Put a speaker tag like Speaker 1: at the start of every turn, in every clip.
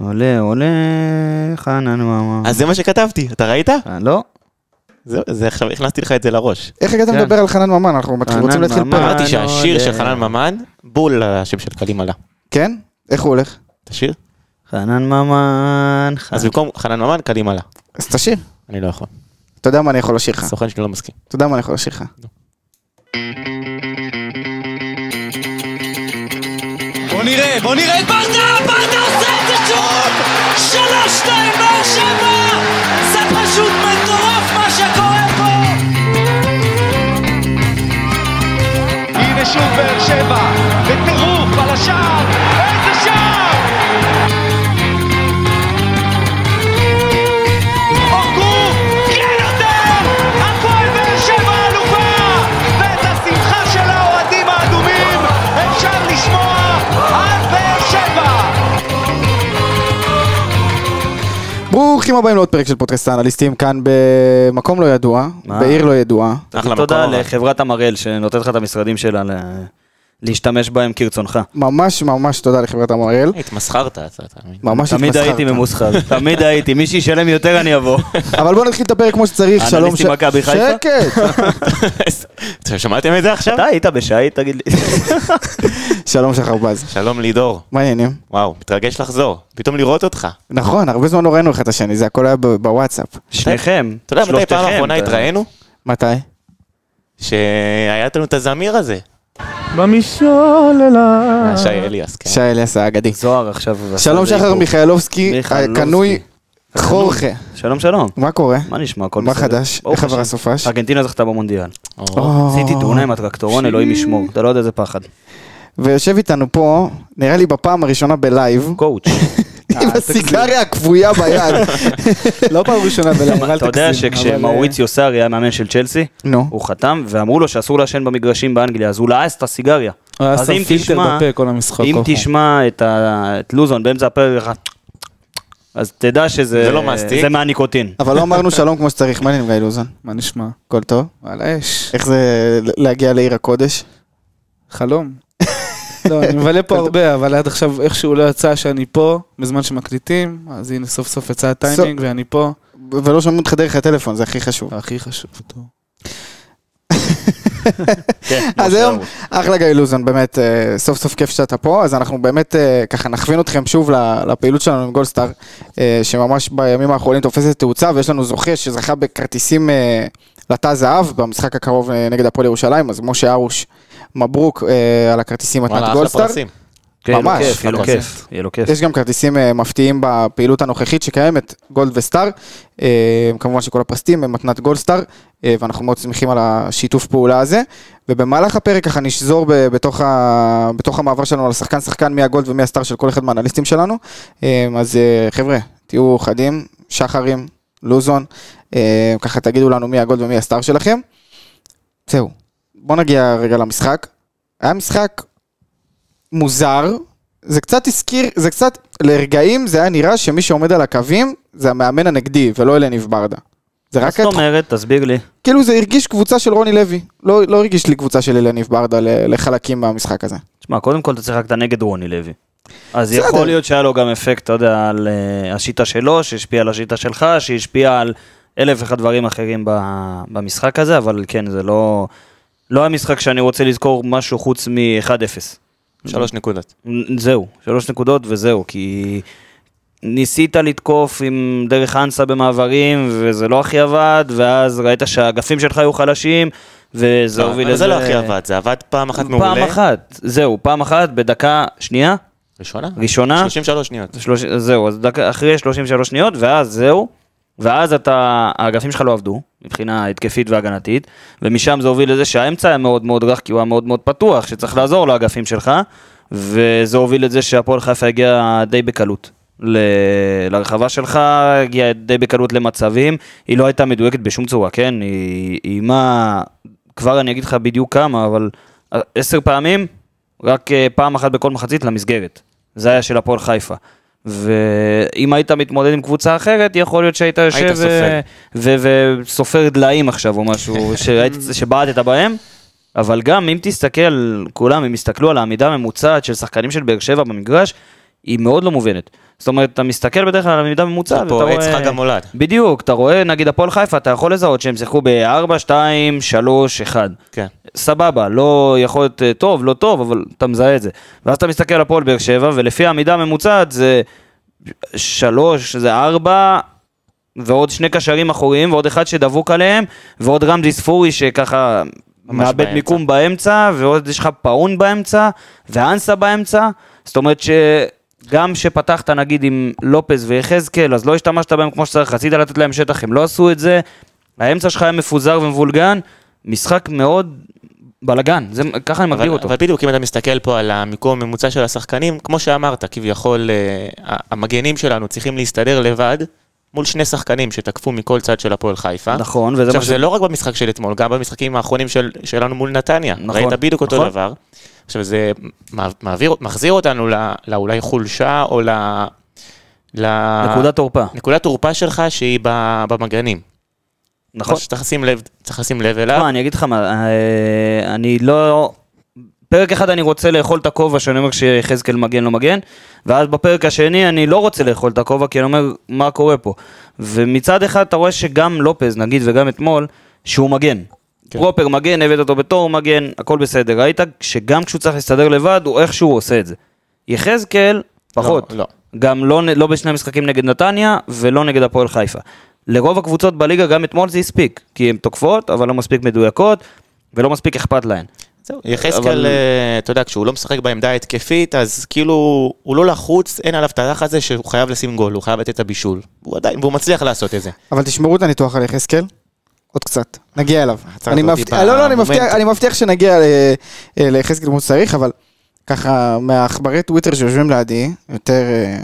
Speaker 1: עולה, עולה, חנן מאמר.
Speaker 2: אז זה מה שכתבתי, אתה ראית?
Speaker 1: לא,
Speaker 2: זה- זה עכשיו, הכנסתי לך את זה לראש.
Speaker 3: איך הגעת
Speaker 1: כן.
Speaker 3: לדבר על חנן ממן? אנחנו מתחיל-
Speaker 1: חנן
Speaker 3: רוצים להתחיל
Speaker 1: ממן.
Speaker 3: פרק.
Speaker 2: אמרתי שהשיר
Speaker 1: אה,
Speaker 2: של
Speaker 1: אה.
Speaker 2: חנן ממן, בול על השם של קלים עלה.
Speaker 3: כן? איך הוא הולך?
Speaker 2: את השיר?
Speaker 1: כן. חנן ממן,
Speaker 2: אז
Speaker 1: חנן.
Speaker 2: במקום חנן ממן, קלים עלה.
Speaker 3: אז תשיר.
Speaker 2: אני לא יכול.
Speaker 1: כן.
Speaker 3: אתה יודע מה אני יכול לשיר לך.
Speaker 2: הסוכן שלי לא מסכים.
Speaker 3: אתה יודע מה אני יכול לשיר לך.
Speaker 4: בוא נראה, בוא נראה את ברדה, ברדה עושה את זה שוב! שלוש, שתיים, באר שבע! זה פשוט מטורף מה שקורה פה! הנה שוב באר שבע, בטירוף על השער! איזה שער! הורגו! כן יותר! הפועל באר שבע אלופה! ואת השמחה של האוהדים האדומים אפשר לשמוע עד באר שבע!
Speaker 3: ברוכים הבאים לעוד פרק של פודקאסט האנליסטים כאן במקום לא ידוע,
Speaker 1: מה?
Speaker 3: בעיר לא ידועה.
Speaker 2: אחלה מקום.
Speaker 1: תודה
Speaker 2: אבל.
Speaker 1: לחברת המראל שנותנת לך את המשרדים שלה ל- להשתמש בהם כרצונך.
Speaker 3: ממש ממש תודה לחברת המראל.
Speaker 2: התמסחרת, אתה אתה מבין?
Speaker 3: ממש
Speaker 1: תמיד
Speaker 3: התמסחרת.
Speaker 1: הייתי ממוסחר, תמיד הייתי, מי שישלם יותר אני אבוא.
Speaker 3: אבל בוא נתחיל את הפרק כמו שצריך, שלום
Speaker 1: האנליסטים מכבי חיפה?
Speaker 3: שקט!
Speaker 2: אתם שמעתם את זה עכשיו?
Speaker 1: אתה היית בשעי, תגיד לי.
Speaker 3: שלום שחר בז.
Speaker 2: שלום לידור.
Speaker 3: מה העניינים?
Speaker 2: וואו, מתרגש לחזור. פתאום לראות אותך.
Speaker 3: נכון, הרבה זמן לא ראינו אחד את השני, זה הכל היה ב- בוואטסאפ.
Speaker 1: שניכם,
Speaker 2: אתה יודע מתי פעם
Speaker 1: שלושתכם,
Speaker 2: האחרונה
Speaker 1: אתה-
Speaker 2: התראינו?
Speaker 3: מתי?
Speaker 2: שהיה לנו את הזמיר הזה.
Speaker 5: במשעול אליי.
Speaker 2: שי אליאס, כן.
Speaker 3: שי אליאס האגדי.
Speaker 1: זוהר עכשיו. עשה
Speaker 3: שלום
Speaker 1: איזה
Speaker 3: שחר אה,
Speaker 1: עיבוב.
Speaker 3: מיכאלובסקי,
Speaker 1: מיכאלובסקי.
Speaker 3: הכנוי חורכה.
Speaker 1: שלום שלום.
Speaker 3: מה קורה?
Speaker 1: מה נשמע? הכל
Speaker 3: מה
Speaker 1: בסדר.
Speaker 3: חדש?
Speaker 1: ברוך
Speaker 3: איך עבר
Speaker 1: השם.
Speaker 3: הסופש?
Speaker 1: ארגנטינה זכתה במונדיאל.
Speaker 2: או,
Speaker 3: או.
Speaker 1: עשיתי תאונה עם הטרקטורון, אלוהים ישמור. אתה לא יודע איזה פחד.
Speaker 3: ויושב איתנו פה, נראה לי בפעם הראשונה בלייב,
Speaker 1: קואוץ'.
Speaker 3: עם הסיגריה הכבויה ביד. אה, לא פעם ראשונה בלייב, אל תגזים. אה,
Speaker 1: אתה יודע
Speaker 5: אה,
Speaker 1: שכשמאוריציו סארי היה מאמן של צ'לסי,
Speaker 3: נו.
Speaker 1: הוא חתם, ואמרו לו שאסור לעשן במגרשים באנגליה, אז הוא לעס את הסיגריה.
Speaker 5: הוא היה
Speaker 1: אז
Speaker 5: שם
Speaker 1: אם
Speaker 5: פילטר
Speaker 1: תשמע-
Speaker 5: בפה כל המשחק.
Speaker 1: אם
Speaker 5: כל פעם.
Speaker 1: תשמע את ה- את לוזון באמצע הפרק, ככה, אז תדע שזה
Speaker 2: זה לא מסטיק.
Speaker 1: זה מהניקוטין.
Speaker 3: אבל לא אמרנו שלום כמו שצריך, מה העניינים גיא לוזון?
Speaker 5: מה נשמע?
Speaker 3: הכל טוב?
Speaker 5: וואלה אש.
Speaker 3: איך זה להגיע לעיר הקודש?
Speaker 5: חלום. לא, אני מבלה פה הרבה, אבל עד עכשיו איכשהו לא יצא שאני פה, בזמן שמקליטים, אז הנה סוף סוף יצא הטיימינג ואני פה.
Speaker 3: ולא שומעים אותך דרך הטלפון, זה הכי חשוב.
Speaker 5: הכי חשוב אותו.
Speaker 1: כן,
Speaker 3: אז
Speaker 1: כמו
Speaker 2: לא
Speaker 3: היום,
Speaker 1: שאמרו.
Speaker 3: אחלה גיא לוזון, באמת, אה, סוף סוף כיף שאתה פה, אז אנחנו באמת אה, ככה נכווין אתכם שוב ל- לפעילות שלנו עם גולדסטאר, אה, שממש בימים האחרונים תופסת תאוצה, ויש לנו זוכה שזכה בכרטיסים אה, לתא זהב במשחק הקרוב אה, נגד הפועל ירושלים, אז משה ארוש, מברוק אה, על הכרטיסים מתנת
Speaker 2: וואלה, אחלה
Speaker 3: גולדסטאר.
Speaker 2: פרסים.
Speaker 1: כן, יהיה לו
Speaker 3: ממש,
Speaker 1: כיף, יהיה לו
Speaker 2: ממש.
Speaker 1: כיף, יהיה לו כיף.
Speaker 3: יש גם כרטיסים אה, מפתיעים בפעילות הנוכחית שקיימת, גולד וסטאר. אה, כמובן שכל הפרסים הם מתנת גולד סטאר, אה, ואנחנו מאוד שמחים על השיתוף פעולה הזה. ובמהלך הפרק ככה נשזור ב- בתוך, ה... בתוך המעבר שלנו על שחקן שחקן מי הגולד ומי הסטאר של כל אחד מהאנליסטים שלנו. אה, אז אה, חבר'ה, תהיו חדים, שחרים, לוזון, אה, ככה תגידו לנו מי הגולד ומי הסטאר שלכם. זהו, בוא נגיע רגע למשחק. היה משחק מוזר, זה קצת הזכיר, זה קצת, לרגעים זה היה נראה שמי שעומד על הקווים זה המאמן הנגדי ולא אלניב ברדה. זה
Speaker 1: מה
Speaker 3: רק,
Speaker 1: זאת
Speaker 3: התח...
Speaker 1: אומרת, תסביר לי.
Speaker 3: כאילו זה הרגיש קבוצה של רוני לוי, לא, לא הרגיש לי קבוצה של אלניב ברדה ל- לחלקים מהמשחק הזה.
Speaker 1: תשמע, קודם כל אתה צריך רק את הנגד רוני לוי. אז
Speaker 3: בסדר.
Speaker 1: יכול להיות שהיה לו גם אפקט, אתה יודע, על אה, השיטה שלו, שהשפיע על השיטה שלך, שהשפיע על אלף ואחד דברים אחרים ב- במשחק הזה, אבל כן, זה לא... לא היה משחק שאני רוצה לזכור משהו חוץ מ-1-0.
Speaker 2: שלוש נקודות.
Speaker 1: זהו, שלוש נקודות וזהו, כי ניסית לתקוף עם דרך אנסה במעברים, וזה לא הכי עבד, ואז ראית שהאגפים שלך היו חלשים, וזה
Speaker 2: לא,
Speaker 1: הוביל
Speaker 2: אבל
Speaker 1: לזה...
Speaker 2: זה לא הכי עבד, זה עבד פעם אחת מעולה.
Speaker 1: פעם אחת, זהו, פעם אחת בדקה שנייה,
Speaker 2: ראשונה?
Speaker 1: ראשונה.
Speaker 2: 33 שניות.
Speaker 1: שלוש, זהו, אז דקה, אחרי 33 שניות, ואז זהו, ואז אתה, האגפים שלך לא עבדו, מבחינה התקפית והגנתית, ומשם זה הוביל לזה שהאמצע היה מאוד מאוד רך, כי הוא היה מאוד מאוד פתוח, שצריך לעזור לאגפים שלך, וזה הוביל לזה שהפועל חיפה הגיע די בקלות. ל- לרחבה שלך, הגיעה די בקלות למצבים, היא לא הייתה מדויקת בשום צורה, כן? היא איימה, כבר אני אגיד לך בדיוק כמה, אבל אה, עשר פעמים, רק אה, פעם אחת בכל מחצית למסגרת. זה היה של הפועל חיפה. ואם היית מתמודד עם קבוצה אחרת, יכול להיות שהיית יושב
Speaker 2: סופר.
Speaker 1: ו- ו- וסופר דליים עכשיו או משהו, שהיית- שבעטת בהם. אבל גם אם תסתכל, כולם, אם יסתכלו על העמידה הממוצעת של שחקנים של באר שבע במגרש, היא מאוד לא מובנת. זאת אומרת, אתה מסתכל בדרך כלל על המידה ממוצעת, ואתה רואה...
Speaker 2: פורץ חג המולד.
Speaker 1: בדיוק, אתה רואה, נגיד הפועל חיפה, אתה יכול לזהות שהם שיחקו ב-4, 2, 3, 1.
Speaker 2: כן.
Speaker 1: סבבה, לא יכול להיות אה, טוב, לא טוב, אבל אתה מזהה את זה. ואז אתה מסתכל על הפועל באר שבע, ולפי העמידה הממוצעת זה שלוש, זה ארבע, ועוד שני קשרים אחוריים, ועוד אחד שדבוק עליהם, ועוד רמזי ספורי שככה
Speaker 2: ממש
Speaker 1: מאבד
Speaker 2: באמצע.
Speaker 1: מיקום באמצע, ועוד יש לך פאון באמצע, ואנסה באמצע, זאת אומרת ש... גם שפתחת נגיד עם לופז ויחזקאל, אז לא השתמשת בהם כמו שצריך, רצית לתת להם שטח, הם לא עשו את זה. האמצע שלך היה מפוזר ומבולגן, משחק מאוד בלאגן, זה- ככה אני
Speaker 2: אבל,
Speaker 1: מגדיר אותו.
Speaker 2: אבל בדיוק, אם אתה מסתכל פה על המיקום הממוצע של השחקנים, כמו שאמרת, כביכול אה, ה- המגנים שלנו צריכים להסתדר לבד מול שני שחקנים שתקפו מכל צד של הפועל חיפה.
Speaker 1: נכון, וזה
Speaker 2: עכשיו,
Speaker 1: מה ש-
Speaker 2: זה לא רק במשחק של אתמול, גם במשחקים האחרונים של, שלנו מול נתניה.
Speaker 1: נכון,
Speaker 2: ראית בדיוק אותו
Speaker 1: נכון.
Speaker 2: דבר. עכשיו, זה מע- מעביר, מחזיר אותנו לא- לאולי חולשה או ל... ל...
Speaker 1: נקודת תורפה.
Speaker 2: נקודת תורפה שלך שהיא ב- במגנים.
Speaker 1: נכון.
Speaker 2: משהו שצריך לשים לב, צריך לשים לב אליו.
Speaker 1: מה, אני אגיד לך מה, אה, אני לא... פרק אחד אני רוצה לאכול את הכובע, שאני אומר כשיחזקאל מגן לא מגן, ואז בפרק השני אני לא רוצה לאכול את הכובע, כי אני אומר, מה קורה פה? ומצד אחד אתה רואה שגם לופז, נגיד, וגם אתמול, שהוא מגן.
Speaker 2: כן.
Speaker 1: פרופר מגן, הבאת אותו בתור מגן, הכל בסדר. ראית שגם כשהוא צריך להסתדר לבד, הוא איכשהו עושה את זה. יחזקאל, פחות.
Speaker 2: לא, לא.
Speaker 1: גם לא, לא בשני המשחקים נגד נתניה ולא נגד הפועל חיפה. לרוב הקבוצות בליגה גם אתמול זה הספיק, כי הן תוקפות, אבל לא מספיק מדויקות, ולא מספיק אכפת להן.
Speaker 2: זהו,
Speaker 1: אבל-
Speaker 2: יחזקאל, אה, אתה יודע, כשהוא לא משחק בעמדה ההתקפית, אז כאילו, הוא לא לחוץ, אין עליו את הרח הזה שהוא חייב לשים גול, הוא חייב לתת את הבישול. הוא עדיין, והוא מצליח לעשות את זה.
Speaker 3: אבל תשמרו את הניתוח על יחזקאל, עוד קצת, נגיע אליו.
Speaker 2: עצרת
Speaker 3: אני
Speaker 2: אותי
Speaker 3: מבטיח, לא, לא, אני
Speaker 2: במומנט.
Speaker 3: מבטיח- אני מבטיח שנגיע ל- אה, ליחזקאל כמו שצריך, אבל ככה, מהעכברי טוויטר שיושבים לידי, יותר אה,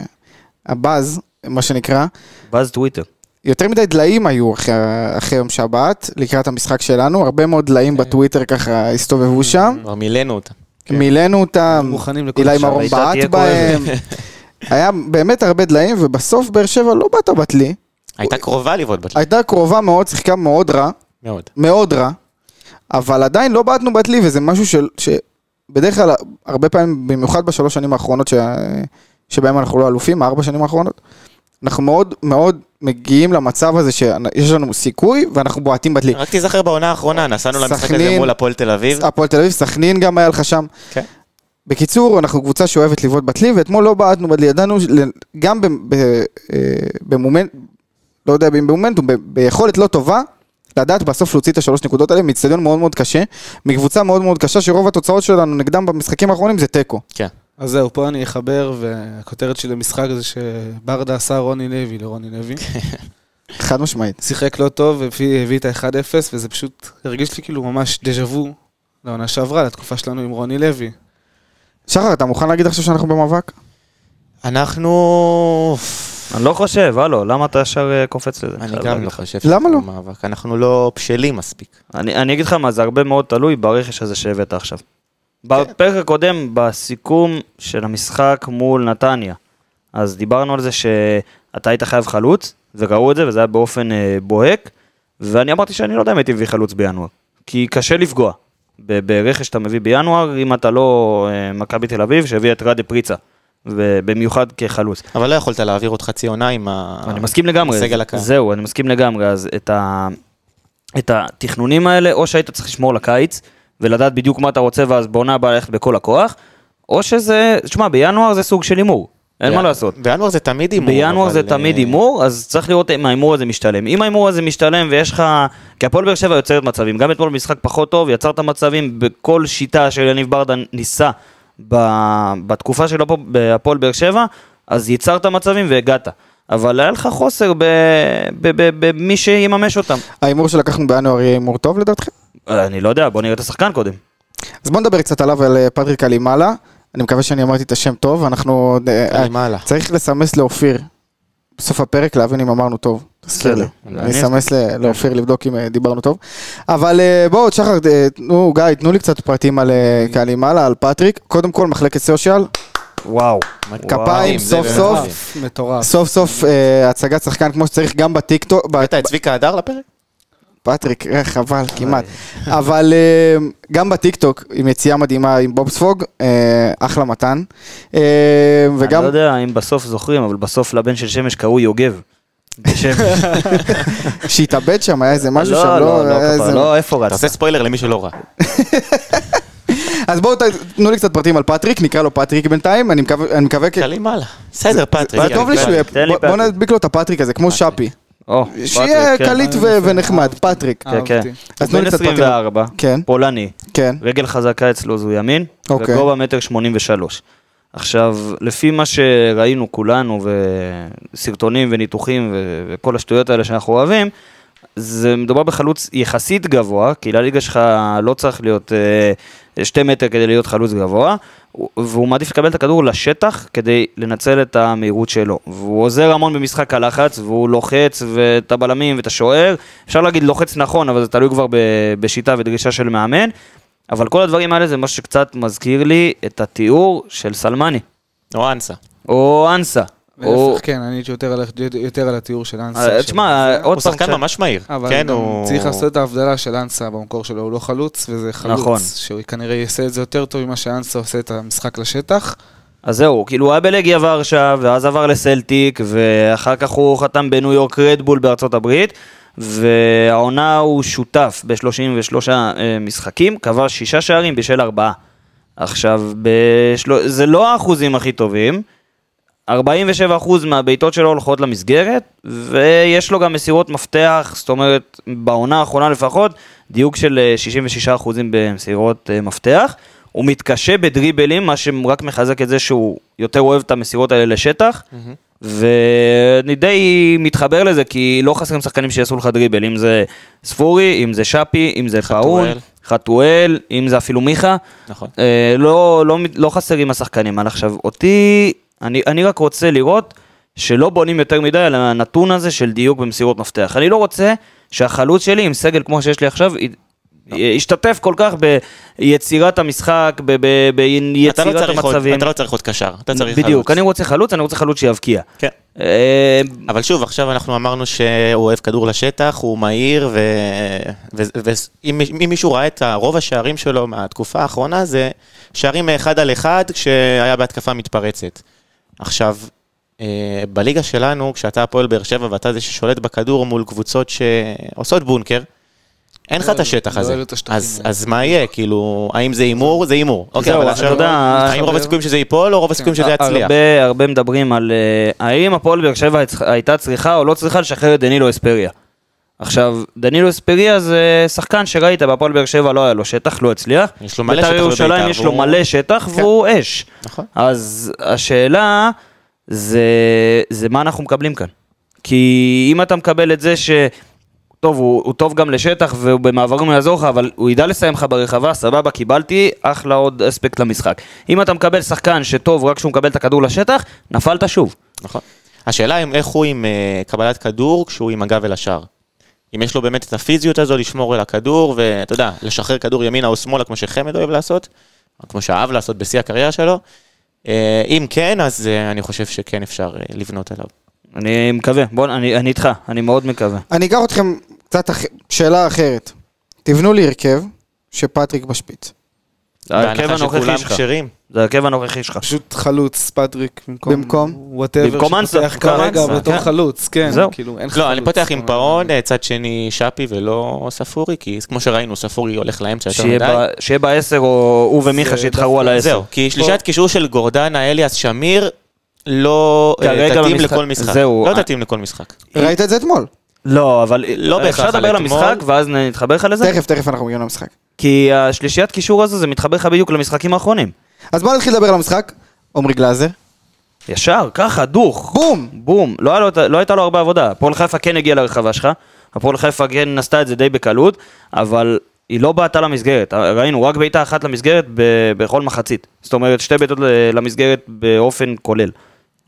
Speaker 3: הבאז, מה שנקרא,
Speaker 1: ואז טוויטר.
Speaker 3: יותר מדי דליים היו אחרי, אחרי יום שבת, לקראת המשחק שלנו, הרבה מאוד דליים בטוויטר ככה הסתובבו שם,
Speaker 2: כבר מילאנו אותה. כן.
Speaker 3: מילאנו אותם,
Speaker 5: מוכנים לכל
Speaker 3: אילי
Speaker 5: השאר.
Speaker 3: מרום
Speaker 1: הייתה תהיה
Speaker 3: בעט בהם, היה באמת הרבה דליים, ובסוף באר שבע לא בעטה בטלי,
Speaker 2: הייתה קרובה לבעוט בטל.
Speaker 3: הייתה קרובה מאוד, שיחקה מאוד רע,
Speaker 2: מאוד.
Speaker 3: מאוד רע, אבל עדיין לא בעטנו בטלי, וזה משהו של, שבדרך כלל, הרבה פעמים, במיוחד בשלוש שנים האחרונות, ש... שבהם אנחנו לא אלופים, הארבע שנים האחרונות, אנחנו מאוד מאוד מגיעים למצב הזה שיש לנו סיכוי, ואנחנו בועטים בטלי.
Speaker 2: רק תיזכר בעונה האחרונה, נסענו למשחק הזה
Speaker 3: סכנין.
Speaker 2: מול הפועל תל אביב.
Speaker 3: הפועל תל אביב, סכנין גם היה לך שם.
Speaker 2: כן.
Speaker 3: בקיצור, אנחנו קבוצה שאוהבת לבעוט בטלי, ואתמול לא בעטנו בטלי, ידענו של- גם ב- ב- אה, במומנט, לא יודע אם במומנטום, ב- ביכולת לא טובה, לדעת בסוף להוציא את השלוש נקודות האלה מאיצטדיון מאוד מאוד קשה, מקבוצה מאוד מאוד קשה, שרוב התוצאות שלנו נגדם במשחקים האחרונים זה תיקו.
Speaker 2: כן.
Speaker 5: אז זהו, פה אני אחבר, והכותרת של המשחק זה שברדה עשה רוני לוי לרוני לוי.
Speaker 3: חד משמעית.
Speaker 5: שיחק לא טוב, והביא הביא את ה-1-0, וזה פשוט הרגיש לי כאילו ממש דז'ה וו לעונה שעברה, לתקופה שלנו עם רוני לוי.
Speaker 3: שחר, אתה מוכן להגיד עכשיו שאנחנו במאבק?
Speaker 2: אנחנו...
Speaker 1: אני לא חושב, הלו, למה אתה ישר אה, קופץ לזה?
Speaker 2: אני
Speaker 1: חייב
Speaker 2: גם
Speaker 1: להגיד
Speaker 2: לא
Speaker 1: לך.
Speaker 2: חושב
Speaker 3: למה
Speaker 2: שזה
Speaker 3: לא?
Speaker 2: מאבק. אנחנו לא בשלים מספיק.
Speaker 1: אני, אני אגיד לך מה, זה הרבה מאוד תלוי ברכש הזה שהבאת עכשיו. בפרק הקודם, בסיכום של המשחק מול נתניה, אז דיברנו על זה שאתה היית חייב חלוץ, וקראו את זה, וזה היה באופן אה, בוהק, ואני אמרתי שאני לא יודע אם הייתי מביא חלוץ בינואר, כי קשה לפגוע ב- ברכש שאתה מביא בינואר, אם אתה לא אה, מכבי תל אביב, שהביא את רדה פריצה, ו- במיוחד כחלוץ.
Speaker 2: אבל לא יכולת להעביר עוד חצי עונה עם ה...
Speaker 1: אני מסכים לגמרי,
Speaker 2: הסגל הקיים.
Speaker 1: זהו, אני מסכים לגמרי, אז את, ה... את התכנונים האלה, או שהיית צריך לשמור לקיץ, ולדעת בדיוק מה אתה רוצה, ואז בעונה הבאה ללכת בכל הכוח, או שזה, תשמע, בינואר זה סוג של הימור, אין מה
Speaker 2: בינואר-
Speaker 1: לעשות.
Speaker 2: בינואר זה תמיד הימור.
Speaker 1: בינואר
Speaker 2: אבל,
Speaker 1: זה תמיד
Speaker 2: אה,
Speaker 1: הימור, אז צריך לראות אם ההימור הזה משתלם. אם ההימור הזה משתלם ויש לך... כי הפועל באר שבע יוצרת מצבים. גם אתמול במשחק פחות טוב, יצרת מצבים בכל שיטה של יניב ברדה ניסה ב- בתקופה שלו פה בהפועל באר שבע, אז יצרת מצבים והגעת. אבל היה לך חוסר ב- ב- ב- במי שיממש אותם.
Speaker 3: ההימור שלקחנו בינואר יהיה הימור טוב לדעתכם?
Speaker 1: אה, אני לא יודע, בוא נראה את השחקן קודם.
Speaker 3: אז בוא נדבר קצת עליו, על אה, פטריק אלימאלה. אני מקווה שאני אמרתי את השם טוב, אנחנו... אה,
Speaker 2: למעלה.
Speaker 3: צריך לסמס לאופיר בסוף הפרק להבין אם אמרנו טוב. תזכיר לי.
Speaker 1: בסדר. כן.
Speaker 3: אני אסמס ל- לאופיר לבדוק אם אה, דיברנו טוב. אבל אה, בואו, שחר, אה, תנו, גיא, תנו לי קצת פרטים על אה,
Speaker 1: כן.
Speaker 3: קהלי מעלה, על פטריק. קודם כל, מחלקת סושיאל,
Speaker 1: וואו.
Speaker 3: כפיים, סוף
Speaker 1: לא
Speaker 2: זה
Speaker 3: סוף,
Speaker 2: באמת.
Speaker 5: מטורף.
Speaker 3: סוף סוף אה, הצגת שחקן כמו שצריך גם בטיקטוק. ב-
Speaker 2: הבאת את צביקה הדר לפרק?
Speaker 3: פטריק, אה, חבל, כמעט. אבל אה, גם בטיקטוק, עם יציאה מדהימה עם בובספוג, אה, אחלה מתן. אה,
Speaker 1: אני
Speaker 3: וגם
Speaker 1: לא יודע אם בסוף זוכרים, אבל בסוף לבן של שמש קראו יוגב. בשם...
Speaker 3: שהתאבד שם, היה איזה משהו שם, אה,
Speaker 1: לא, לא, לא,
Speaker 3: היה
Speaker 1: כפר,
Speaker 3: איזה-
Speaker 1: לא, איפה
Speaker 2: אתה
Speaker 1: רצת?
Speaker 2: עושה ספוילר למי שלא ראה.
Speaker 3: אז בואו ת- תנו לי קצת פרטים על פטריק, נקרא לו פטריק בינתיים, אני מקווה- אני מקווה... כ-
Speaker 2: תעלים הלאה. כן, בסדר, פטריק. כן.
Speaker 3: זה טוב לי שהוא יהיה,
Speaker 1: תן לי
Speaker 3: בוא- בוא
Speaker 1: פטריק.
Speaker 3: נדביק לו את הפטריק הזה, כמו שפי.
Speaker 1: או,
Speaker 3: שיהיה
Speaker 1: פטריק, כן.
Speaker 3: קליט ו- ונחמד, פטריק.
Speaker 1: כן, כן.
Speaker 5: אהבתי.
Speaker 3: אז
Speaker 1: הוא
Speaker 3: תנו לי
Speaker 1: בן
Speaker 3: קצת פרטים.
Speaker 1: 24,
Speaker 3: כן.
Speaker 1: פולני,
Speaker 3: כן,
Speaker 1: רגל חזקה אצלו זו ימין,
Speaker 3: אוקיי.
Speaker 1: וגובה מטר 83. עכשיו, לפי מה שראינו כולנו, וסרטונים וניתוחים ו- וכל השטויות האלה שאנחנו אוהבים, זה מדובר בחלוץ יחסית גבוה, כי לליגה שלך לא צריך להיות אה, שתי מטר כדי להיות חלוץ גבוה, הוא- והוא מעדיף לקבל את הכדור לשטח כדי לנצל את המהירות שלו. והוא עוזר המון במשחק הלחץ, והוא לוחץ ואת הבלמים ואת השוער, אפשר להגיד לוחץ נכון, אבל זה תלוי כבר ב- בשיטה ודרישה של מאמן, אבל כל הדברים האלה זה משהו שקצת מזכיר לי את התיאור של סלמני,
Speaker 2: או אנסה.
Speaker 1: או אנסה. או...
Speaker 5: להפך, כן, אני הייתי יותר על- יותר על התיאור של אנסה.
Speaker 1: אה, תשמע, עוד
Speaker 2: הוא
Speaker 1: פעם...
Speaker 2: שחקן
Speaker 1: קצת-
Speaker 2: ממש מהיר.
Speaker 5: אבל
Speaker 2: כן,
Speaker 5: גם
Speaker 2: הוא...
Speaker 5: צריך לעשות את ההבדלה של אנסה במקור שלו, הוא לא חלוץ, וזה חלוץ.
Speaker 1: נכון.
Speaker 5: שהוא כנראה יעשה את זה יותר טוב ממה שאנסה עושה את המשחק לשטח.
Speaker 1: אז זהו, כאילו הוא היה בלגיה ורשה, ואז עבר לסלטיק, ואחר כך הוא חתם בניו יורק רדבול בארצות הברית, והעונה הוא שותף ב-33 אה, משחקים, כבש שישה שערים בשל ארבעה. עכשיו, בשל... זה לא האחוזים הכי טובים, 47% מהבעיטות שלו הולכות למסגרת, ויש לו גם מסירות מפתח, זאת אומרת, בעונה האחרונה לפחות, דיוק של אה, 66% במסירות אה, מפתח. הוא מתקשה בדריבלים, מה שרק מחזק את זה שהוא יותר אוהב את המסירות האלה לשטח. ואני די מתחבר לזה, כי לא חסרים שחקנים שיעשו לך דריבל, אם זה ספורי, אם זה שפי, אם זה
Speaker 2: חתואל.
Speaker 1: פאון, חתואל, אם זה אפילו מיכה.
Speaker 2: נכון.
Speaker 1: אה, לא, לא, מת- לא חסרים השחקנים על עכשיו. אותי, אני, אני רק רוצה לראות שלא בונים יותר מדי על הנתון הזה של דיוק במסירות מפתח. אני לא רוצה שהחלוץ שלי עם סגל כמו שיש לי עכשיו, י-
Speaker 2: לא.
Speaker 1: אה, ישתתף כל כך ביצירת המשחק, ב- ב-
Speaker 2: אתה לא
Speaker 1: ביצירת
Speaker 2: צריך עוד-
Speaker 1: המצבים.
Speaker 2: אתה לא צריך עוד קשר, אתה צריך חלוץ.
Speaker 1: בדיוק, אני רוצה חלוץ, אני רוצה חלוץ שיבקיע.
Speaker 2: כן.
Speaker 1: אה,
Speaker 2: אבל שוב, עכשיו אנחנו אמרנו שהוא אוהב כדור לשטח, הוא מהיר, ואם מישהו ראה את רוב השערים שלו מהתקופה האחרונה, זה שערים מאחד על אחד כשהיה בהתקפה מתפרצת. עכשיו, אה, בליגה שלנו, כשאתה הפועל באר שבע ואתה זה ששולט בכדור מול קבוצות שעושות בונקר, אין לך
Speaker 5: לא,
Speaker 2: את השטח
Speaker 5: לא
Speaker 2: הזה.
Speaker 5: העלו את השטחים
Speaker 2: אז-
Speaker 5: האלה.
Speaker 2: אז מה יהיה? כאילו, האם זה הימור? זה הימור. אוקיי,
Speaker 1: זהו,
Speaker 2: אבל
Speaker 1: אתה
Speaker 2: עכשיו,
Speaker 1: יודע, כן.
Speaker 2: האם רוב הסיכויים שזה ייפול, או רוב הסיכויים
Speaker 1: אה,
Speaker 2: שזה יצליח?
Speaker 1: הרבה, הרבה מדברים על אה, האם הפועל באר שבע הצ- הייתה צריכה או לא צריכה לשחרר את דנילו אספריה. עכשיו, דנילו אספריה זה שחקן שראית, בהפועל באר שבע לא היה לו שטח, לא הצליח.
Speaker 2: יש לו מלא שטח
Speaker 1: בית"ר ירושלים
Speaker 2: בבית"ר,
Speaker 1: יש לו
Speaker 2: והוא- כן.
Speaker 1: מלא שטח והוא אש.
Speaker 2: נכון.
Speaker 1: אז השאלה זה, זה מה אנחנו מקבלים כאן. כי אם אתה מקבל את זה ש... טוב, הוא, הוא טוב גם לשטח ובמעברים הוא יעזור לך, אבל הוא ידע לסיים לך ברחבה, סבבה, קיבלתי, אחלה עוד אספקט למשחק. אם אתה מקבל שחקן שטוב רק כשהוא מקבל את הכדור לשטח, נפלת שוב.
Speaker 2: נכון. השאלה היא איך הוא עם אה, קבלת כדור כשהוא עם הגב אל השער. אם יש לו באמת את הפיזיות הזו לשמור על הכדור, ואתה יודע, לשחרר כדור ימינה או שמאלה, כמו שחמד אוהב לעשות, או כמו שאהב לעשות בשיא הקריירה שלו. אה, אם כן, אז אה, אני חושב שכן אפשר אה, לבנות עליו.
Speaker 1: אני מקווה, בוא, אני, אני איתך, אני מאוד מקווה.
Speaker 3: אני אקח אתכם קצת אח- שאלה אחרת. תבנו לי הרכב שפטריק בשפיץ.
Speaker 1: זה ההרכב
Speaker 2: בהנחה
Speaker 1: הנוכחי
Speaker 2: שכולם
Speaker 1: שלך.
Speaker 2: כשרים.
Speaker 1: זה ההרכב הנוכחי שלך.
Speaker 5: פשוט חלוץ, פטריק,
Speaker 3: במקום?
Speaker 5: וואטאבר.
Speaker 1: במקום אנסה,
Speaker 5: שפותח
Speaker 1: במקום
Speaker 5: כרגע
Speaker 1: אנסה,
Speaker 5: בתור
Speaker 1: כן.
Speaker 5: חלוץ, כן.
Speaker 1: זהו.
Speaker 5: כאילו, אין לך
Speaker 2: לא, אני
Speaker 5: חלוץ.
Speaker 2: פותח עם פאון, אה, צד שני שפי ולא ספורי, כי כמו שראינו, ספורי הולך לאמצע יותר
Speaker 1: שיהיה
Speaker 2: מדי.
Speaker 1: ב- שיהיה בעשר או הוא ומיכה שיתחרו על העשר.
Speaker 2: אה, זהו, כי שלישת קישור של גורדנה, אליאס, שמיר, לא אה,
Speaker 1: כרגע
Speaker 2: תתאים
Speaker 1: במשחק-
Speaker 2: לכל משחק.
Speaker 1: זהו. אה-
Speaker 2: לא תתאים לכל משחק.
Speaker 3: ראית את זה אתמול?
Speaker 1: לא, אבל
Speaker 2: לא בהכרח,
Speaker 1: אפשר
Speaker 2: אבל
Speaker 1: לדבר על
Speaker 2: אתמול-
Speaker 1: המשחק ואז נתחבר לך לזה?
Speaker 3: תכף, תכף אנחנו מגיעים למשחק.
Speaker 1: כי השלישיית קישור הזו זה מתחבר לך בדיוק למשחקים האחרונים.
Speaker 3: אז בואו נתחיל לדבר על המשחק. עמרי גלאזר.
Speaker 1: ישר, ככה, דוך.
Speaker 3: בום!
Speaker 1: בום. לא, היה לו, לא הייתה לו הרבה עבודה. הפועל חיפה כן הגיעה לרחבה שלך, הפועל חיפה כן עשתה את זה די בקלות, אבל היא לא בעטה למסגרת. ראינו רק בעיטה אחת למסגרת ב- בכל מחצית. זאת אומרת, שתי בעיטות ל- למסגרת באופן כולל.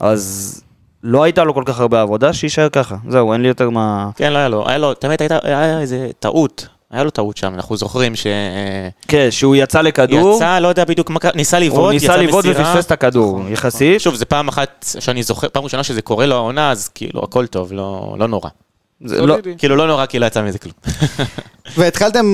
Speaker 1: אז לא הייתה לו כל כך הרבה עבודה, שיישאר ככה. זהו, אין לי יותר מה...
Speaker 2: כן, לא היה לו, היה לו, תמיד הייתה, היה איזה טעות, היה לו טעות שם, אנחנו זוכרים שיצא,
Speaker 1: כן, שהוא יצא לכדור,
Speaker 2: לא יודע בדיוק מה קרה, ניסה לבעוט,
Speaker 1: הוא ניסה
Speaker 2: יצא
Speaker 1: לבעוט
Speaker 2: מסירה.
Speaker 1: ופספס את הכדור, נכון. יחסית.
Speaker 2: שוב, זה פעם אחת שאני זוכר, פעם ראשונה שזה קורה לו העונה, אז כאילו, הכל טוב, לא, לא נורא.
Speaker 1: זה לא-
Speaker 5: סולידי.
Speaker 2: כאילו לא נורא, כי לא יצא מזה כלום.
Speaker 3: והתחלתם...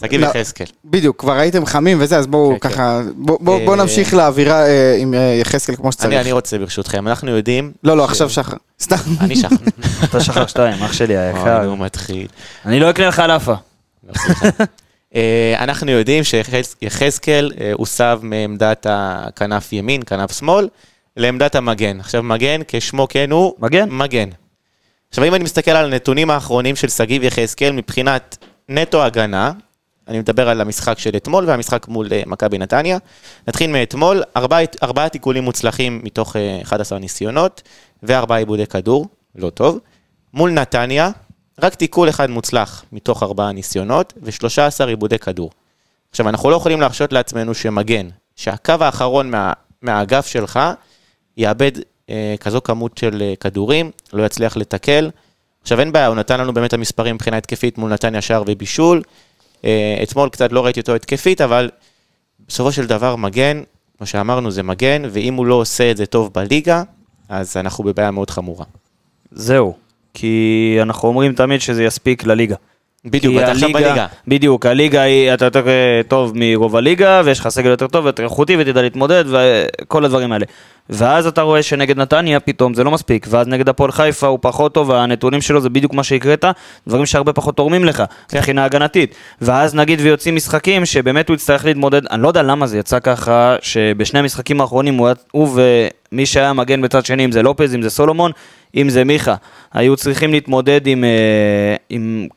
Speaker 2: שגיב
Speaker 3: לא,
Speaker 2: יחזקאל.
Speaker 3: בדיוק, כבר הייתם חמים וזה, אז בואו
Speaker 2: כן, כן.
Speaker 3: ככה, בואו- בואו בואו
Speaker 2: אה,
Speaker 3: נמשיך לאווירה אה, עם אה, יחזקאל כמו
Speaker 2: אני אני אה,
Speaker 3: שצריך.
Speaker 2: רוצה ברשותכם, אנחנו יודעים...
Speaker 3: לא, לא, עכשיו שחר. סתם.
Speaker 2: אני שחר.
Speaker 1: אתה שחר שתיים, אח שלי
Speaker 2: אוי,
Speaker 1: היקר.
Speaker 2: נו, מתחיל.
Speaker 1: אני לא אקנה לך על עפה.
Speaker 2: לא, סליחה. אה, אנחנו יודעים שיחזקאל אה, הוסב מעמדת הכנף ימין, כנף שמאל, לעמדת המגן. עכשיו, מגן, כשמו כן הוא...
Speaker 1: מגן.
Speaker 2: מגן. עכשיו, אם אני מסתכל על הנתונים האחרונים של שגיב יחזקאל מבחינת נטו הגנה, אני מדבר על המשחק של אתמול והמשחק מול אה, מכבי נתניה. נתחיל מאתמול, ארבעה ארבעה תיקולים מוצלחים מתוך אה, 11 ניסיונות, וארבעה עיבודי כדור, לא טוב. מול נתניה, רק תיקול אחד מוצלח מתוך ארבעה ניסיונות, ו-13 עיבודי כדור. עכשיו, אנחנו לא יכולים להרשות לעצמנו שמגן, שהקו האחרון מה, מהאגף שלך, יאבד אה, כזו כמות של אה, כדורים, לא יצליח לתקל. עכשיו, אין בעיה, הוא נתן לנו באמת את המספרים מבחינה התקפית מול נתניה שער ובישול. אה, אתמול קצת לא ראיתי אותו התקפית, אבל בסופו של דבר מגן, כמו שאמרנו, זה מגן, ואם הוא לא עושה את זה טוב בליגה, אז אנחנו בבעיה מאוד חמורה.
Speaker 1: זהו. כי אנחנו אומרים תמיד שזה יספיק לליגה.
Speaker 2: בדיוק,
Speaker 1: כי
Speaker 2: אתה עכשיו
Speaker 1: הליגה-
Speaker 2: בליגה.
Speaker 1: בדיוק, הליגה היא, אתה יותר אה, טוב מרוב הליגה, ויש לך סגל יותר טוב ויותר איכותי ותדע להתמודד וכל הדברים האלה. ואז אתה רואה שנגד נתניה פתאום זה לא מספיק, ואז נגד הפועל חיפה הוא פחות טוב, הנתונים שלו זה בדיוק מה שהקראת, דברים שהרבה פחות תורמים לך,
Speaker 2: כן.
Speaker 1: מבחינה הגנתית. ואז נגיד ויוצאים משחקים שבאמת הוא יצטרך להתמודד, אני לא יודע למה זה יצא ככה, שבשני המשחקים האחרונים הוא, היה- הוא ומי שהיה מגן בצד שני, אם זה לופז, אם זה סולומון, אם זה מיכה, היו צריכים להתמודד עם, אה, עם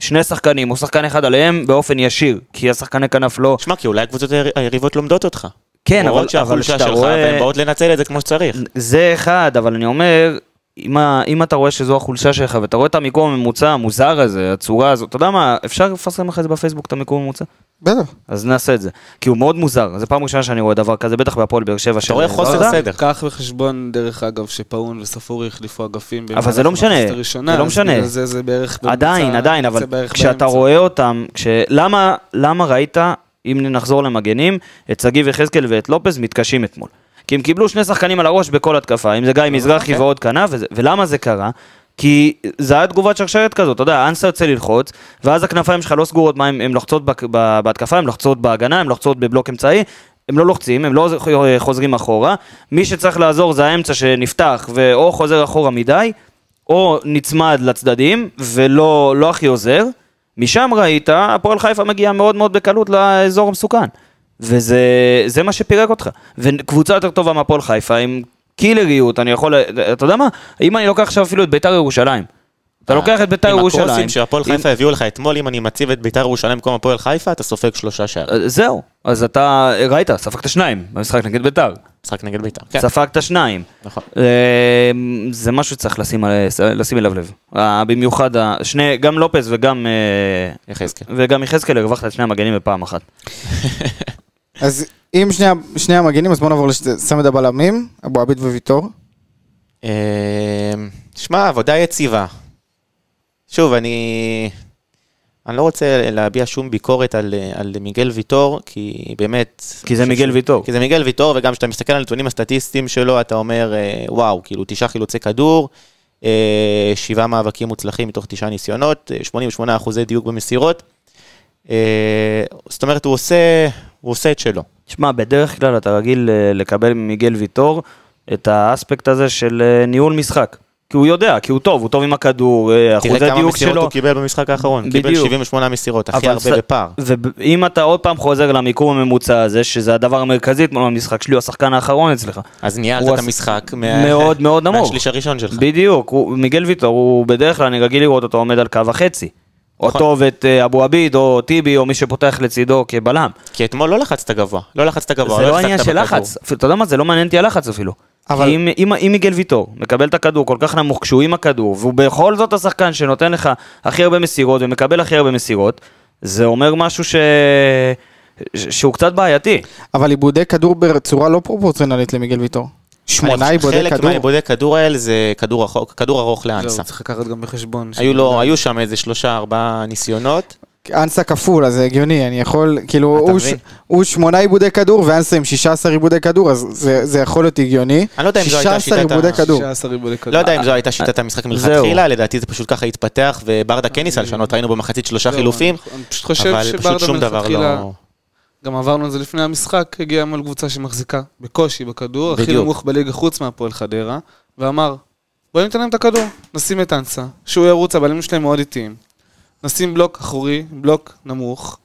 Speaker 1: שני שחקנים, או שחקן אחד עליהם באופן ישיר, כי השחקני כנף לא...
Speaker 2: שמע, כי אולי הקבוצות היר- היריבות לומדות אותך.
Speaker 1: כן, אבל-
Speaker 2: רואות
Speaker 1: אבל
Speaker 2: שהחולשה
Speaker 1: כשאתה
Speaker 2: שלך,
Speaker 1: רואה-
Speaker 2: והן באות לנצל את זה כמו שצריך.
Speaker 1: זה אחד, אבל אני אומר, אם, ה- אם אתה רואה שזו החולשה שלך, ואתה רואה את המיקום הממוצע המוזר הזה, הצורה הזאת, אתה יודע מה, אפשר לפרסם אחרי זה בפייסבוק את המיקום הממוצע?
Speaker 3: בטח.
Speaker 1: אז נעשה את זה. כי הוא מאוד מוזר, זו פעם ראשונה שאני רואה דבר כזה, בטח בהפועל באר שבע. של-
Speaker 2: רואה
Speaker 1: לא
Speaker 2: חוסר
Speaker 1: יודע.
Speaker 2: סדר.
Speaker 5: אה, קח בחשבון, דרך אגב, שפאון וספורי החליפו אגפים.
Speaker 1: אבל זה לא
Speaker 5: במהלך
Speaker 1: משנה,
Speaker 5: המחצית הראשונה,
Speaker 1: זה לא
Speaker 5: אז
Speaker 1: משנה.
Speaker 5: בגלל זה זה בערך... בממוצע-
Speaker 1: עדיין, עדיין, אבל
Speaker 5: זה בערך
Speaker 1: כשאתה
Speaker 5: באמצע.
Speaker 1: רואה אותם, כש... למה, למה ראית, אם נחזור למגנים, את שגיב יחזקאל ואת לופז מתקשים אתמול? כי הם קיבלו שני שחקנים על הראש בכל התקפה, אם זה
Speaker 5: אה,
Speaker 1: גיא
Speaker 5: אוקיי.
Speaker 1: מזרחי ועוד כנף, וזה- ולמה זה קרה? כי זה היה תגובת שרשרת כזאת, אתה יודע, אנסה יוצא ללחוץ, ואז הכנפיים שלך לא סגורות, מה, הן לוחצות בק- ב- בהתקפה, הן לוחצות בהגנה, הן לוחצות בבלוק אמצעי, הם לא לוחצים, הם לא חוזרים אחורה, מי שצריך לעזור זה האמצע שנפתח, ואו חוזר אחורה מדי, או נצמד לצדדים, ולא לא הכי עוזר, משם ראית, הפועל חיפה מגיע מאוד מאוד בקלות לאזור המסוכן. וזה זה מה שפירק אותך. וקבוצה יותר טובה מהפועל חיפה, עם קילריות, אני יכול, אתה יודע מה? אם אני לוקח עכשיו אפילו את ביתר ירושלים. אתה לוקח את ביתר
Speaker 2: אה, עם
Speaker 1: ירושלים.
Speaker 2: הקרוסים שהפועל חיפה הביאו לך אתמול, אם אני מציב את ביתר ירושלים במקום הפועל חיפה, אתה סופג שלושה שערים.
Speaker 1: עם- אה, זהו, אז אתה ראית, ספגת שניים במשחק נגד ביתר.
Speaker 2: משחק נגד ביתר. כן,
Speaker 1: ספגת שניים.
Speaker 2: נכון.
Speaker 1: אה, זה משהו שצריך לשים, על- לשים אליו לב. אה, במיוחד, ה- שני, גם לופז וגם אה,
Speaker 2: יחזקאל.
Speaker 1: וגם יחזקאל הרווחת את שני המגנים בפעם אחת.
Speaker 3: אז אם שני, ה- שני המגנים, אז בואו נעבור לצמד הבלמים, אבו עביד וויטור.
Speaker 2: אה, שמע, עבודה יציבה. שוב, אני... אני לא רוצה להביע שום ביקורת על, על מיגל ויטור, כי באמת...
Speaker 1: כי זה מיגל ויטור.
Speaker 2: כי זה מיגל ויטור, וגם כשאתה מסתכל על הנתונים הסטטיסטיים שלו, אתה אומר, אה, וואו, כאילו, תשעה חילוצי כדור, אה, שבעה מאבקים מוצלחים מתוך תשעה ניסיונות, אה, 88 אחוזי דיוק במסירות. אה, זאת אומרת, הוא עושה, הוא עושה את שלו.
Speaker 1: תשמע, בדרך כלל אתה רגיל אה, לקבל ממיגל ויטור את האספקט הזה של אה, ניהול משחק. כי הוא יודע, כי הוא טוב, הוא טוב עם הכדור, אה,
Speaker 2: תראה
Speaker 1: אחוזי
Speaker 2: כמה
Speaker 1: דיוק
Speaker 2: מסירות
Speaker 1: שלו.
Speaker 2: הוא קיבל במשחק האחרון. קיבל
Speaker 1: בדיוק.
Speaker 2: 78 מסירות, הכי
Speaker 1: אבל ס-
Speaker 2: הרבה בפער.
Speaker 1: ואם אתה עוד פעם חוזר למיקום הממוצע הזה, שזה הדבר המרכזי אתמול במשחק שלי, הוא השחקן האחרון אצלך.
Speaker 2: אז ניהלת
Speaker 1: הוא
Speaker 2: את
Speaker 1: עשה-
Speaker 2: המשחק
Speaker 1: מאוד מאוד נמוך.
Speaker 2: מהשליש הראשון שלך.
Speaker 1: בדיוק, הוא, מיגל ויטור, הוא בדרך כלל, אני רגיל לראות אותו עומד על קו החצי.
Speaker 2: נכון.
Speaker 1: אותו ואת אה, אבו עביד, או טיבי, או מי שפותח לצידו כבלם.
Speaker 2: כי אתמול לא לחצת גבוה. לא לחצת גבוה.
Speaker 1: זה לא
Speaker 2: החזקת
Speaker 1: עניין של
Speaker 2: בכדור.
Speaker 1: לחץ, אפילו- אתה יודע מה, זה לא מעניין אותי הלחץ אפילו.
Speaker 3: אבל-
Speaker 1: אבל... אם, אם, אם מיגל ויטור מקבל את הכדור כל כך נמוך כשהוא עם הכדור, והוא בכל זאת השחקן שנותן לך הכי הרבה מסירות ומקבל הכי הרבה מסירות, זה אומר משהו ש... ש... שהוא קצת בעייתי.
Speaker 3: אבל עיבודי כדור בצורה לא פרופורציונלית למיגל ויטור. שמונה
Speaker 2: אני חושב
Speaker 3: עיבודי
Speaker 2: חלק
Speaker 3: כדור.
Speaker 2: מהעיבודי כדור האלה זה כדור
Speaker 5: לא,
Speaker 2: רחוק- כדור ארוך לאנסה.
Speaker 5: זהו, צריך לקחת גם בחשבון. ש-
Speaker 2: היו לו, היו שם איזה שלושה ארבעה ניסיונות.
Speaker 3: אנסה כפול, אז זה הגיוני, אני יכול, כאילו,
Speaker 2: אתה
Speaker 3: הוא
Speaker 2: מבין?
Speaker 3: ש- הוא שמונה עיבודי כדור ואנסה עם 16 עיבודי כדור, אז זה זה יכול להיות הגיוני.
Speaker 2: אני לא יודע אם זו הייתה
Speaker 3: 16
Speaker 2: שיטת ה-
Speaker 3: עיבודי כדור.
Speaker 5: 16 ריבולי כדור.
Speaker 2: לא יודע אם זו
Speaker 1: אה,
Speaker 2: הייתה שיטת המשחק מלכתחילה, לדעתי זה פשוט ככה התפתח, וברדה כן
Speaker 1: אה,
Speaker 2: ניסה לשנות, ראינו במחצית שלושה
Speaker 5: זהו,
Speaker 2: חילופים,
Speaker 5: לא, אני- אני פשוט חושב
Speaker 2: אבל פשוט
Speaker 5: שברדה
Speaker 2: שום דבר
Speaker 5: מלכתחילה,
Speaker 2: לא...
Speaker 5: גם עברנו את זה לפני המשחק, הגיע מול קבוצה שמחזיקה בקושי בכדור, הכי
Speaker 2: בדיוק.
Speaker 5: נמוך בליגה חוץ מהפועל חדרה, ואמר, בואו ניתן להם את הכדור, נשים את אנסה, שהוא ירוץ, הבעלים שלהם מאוד איטיים. נשים בלוק אחורי, בלוק נמוך,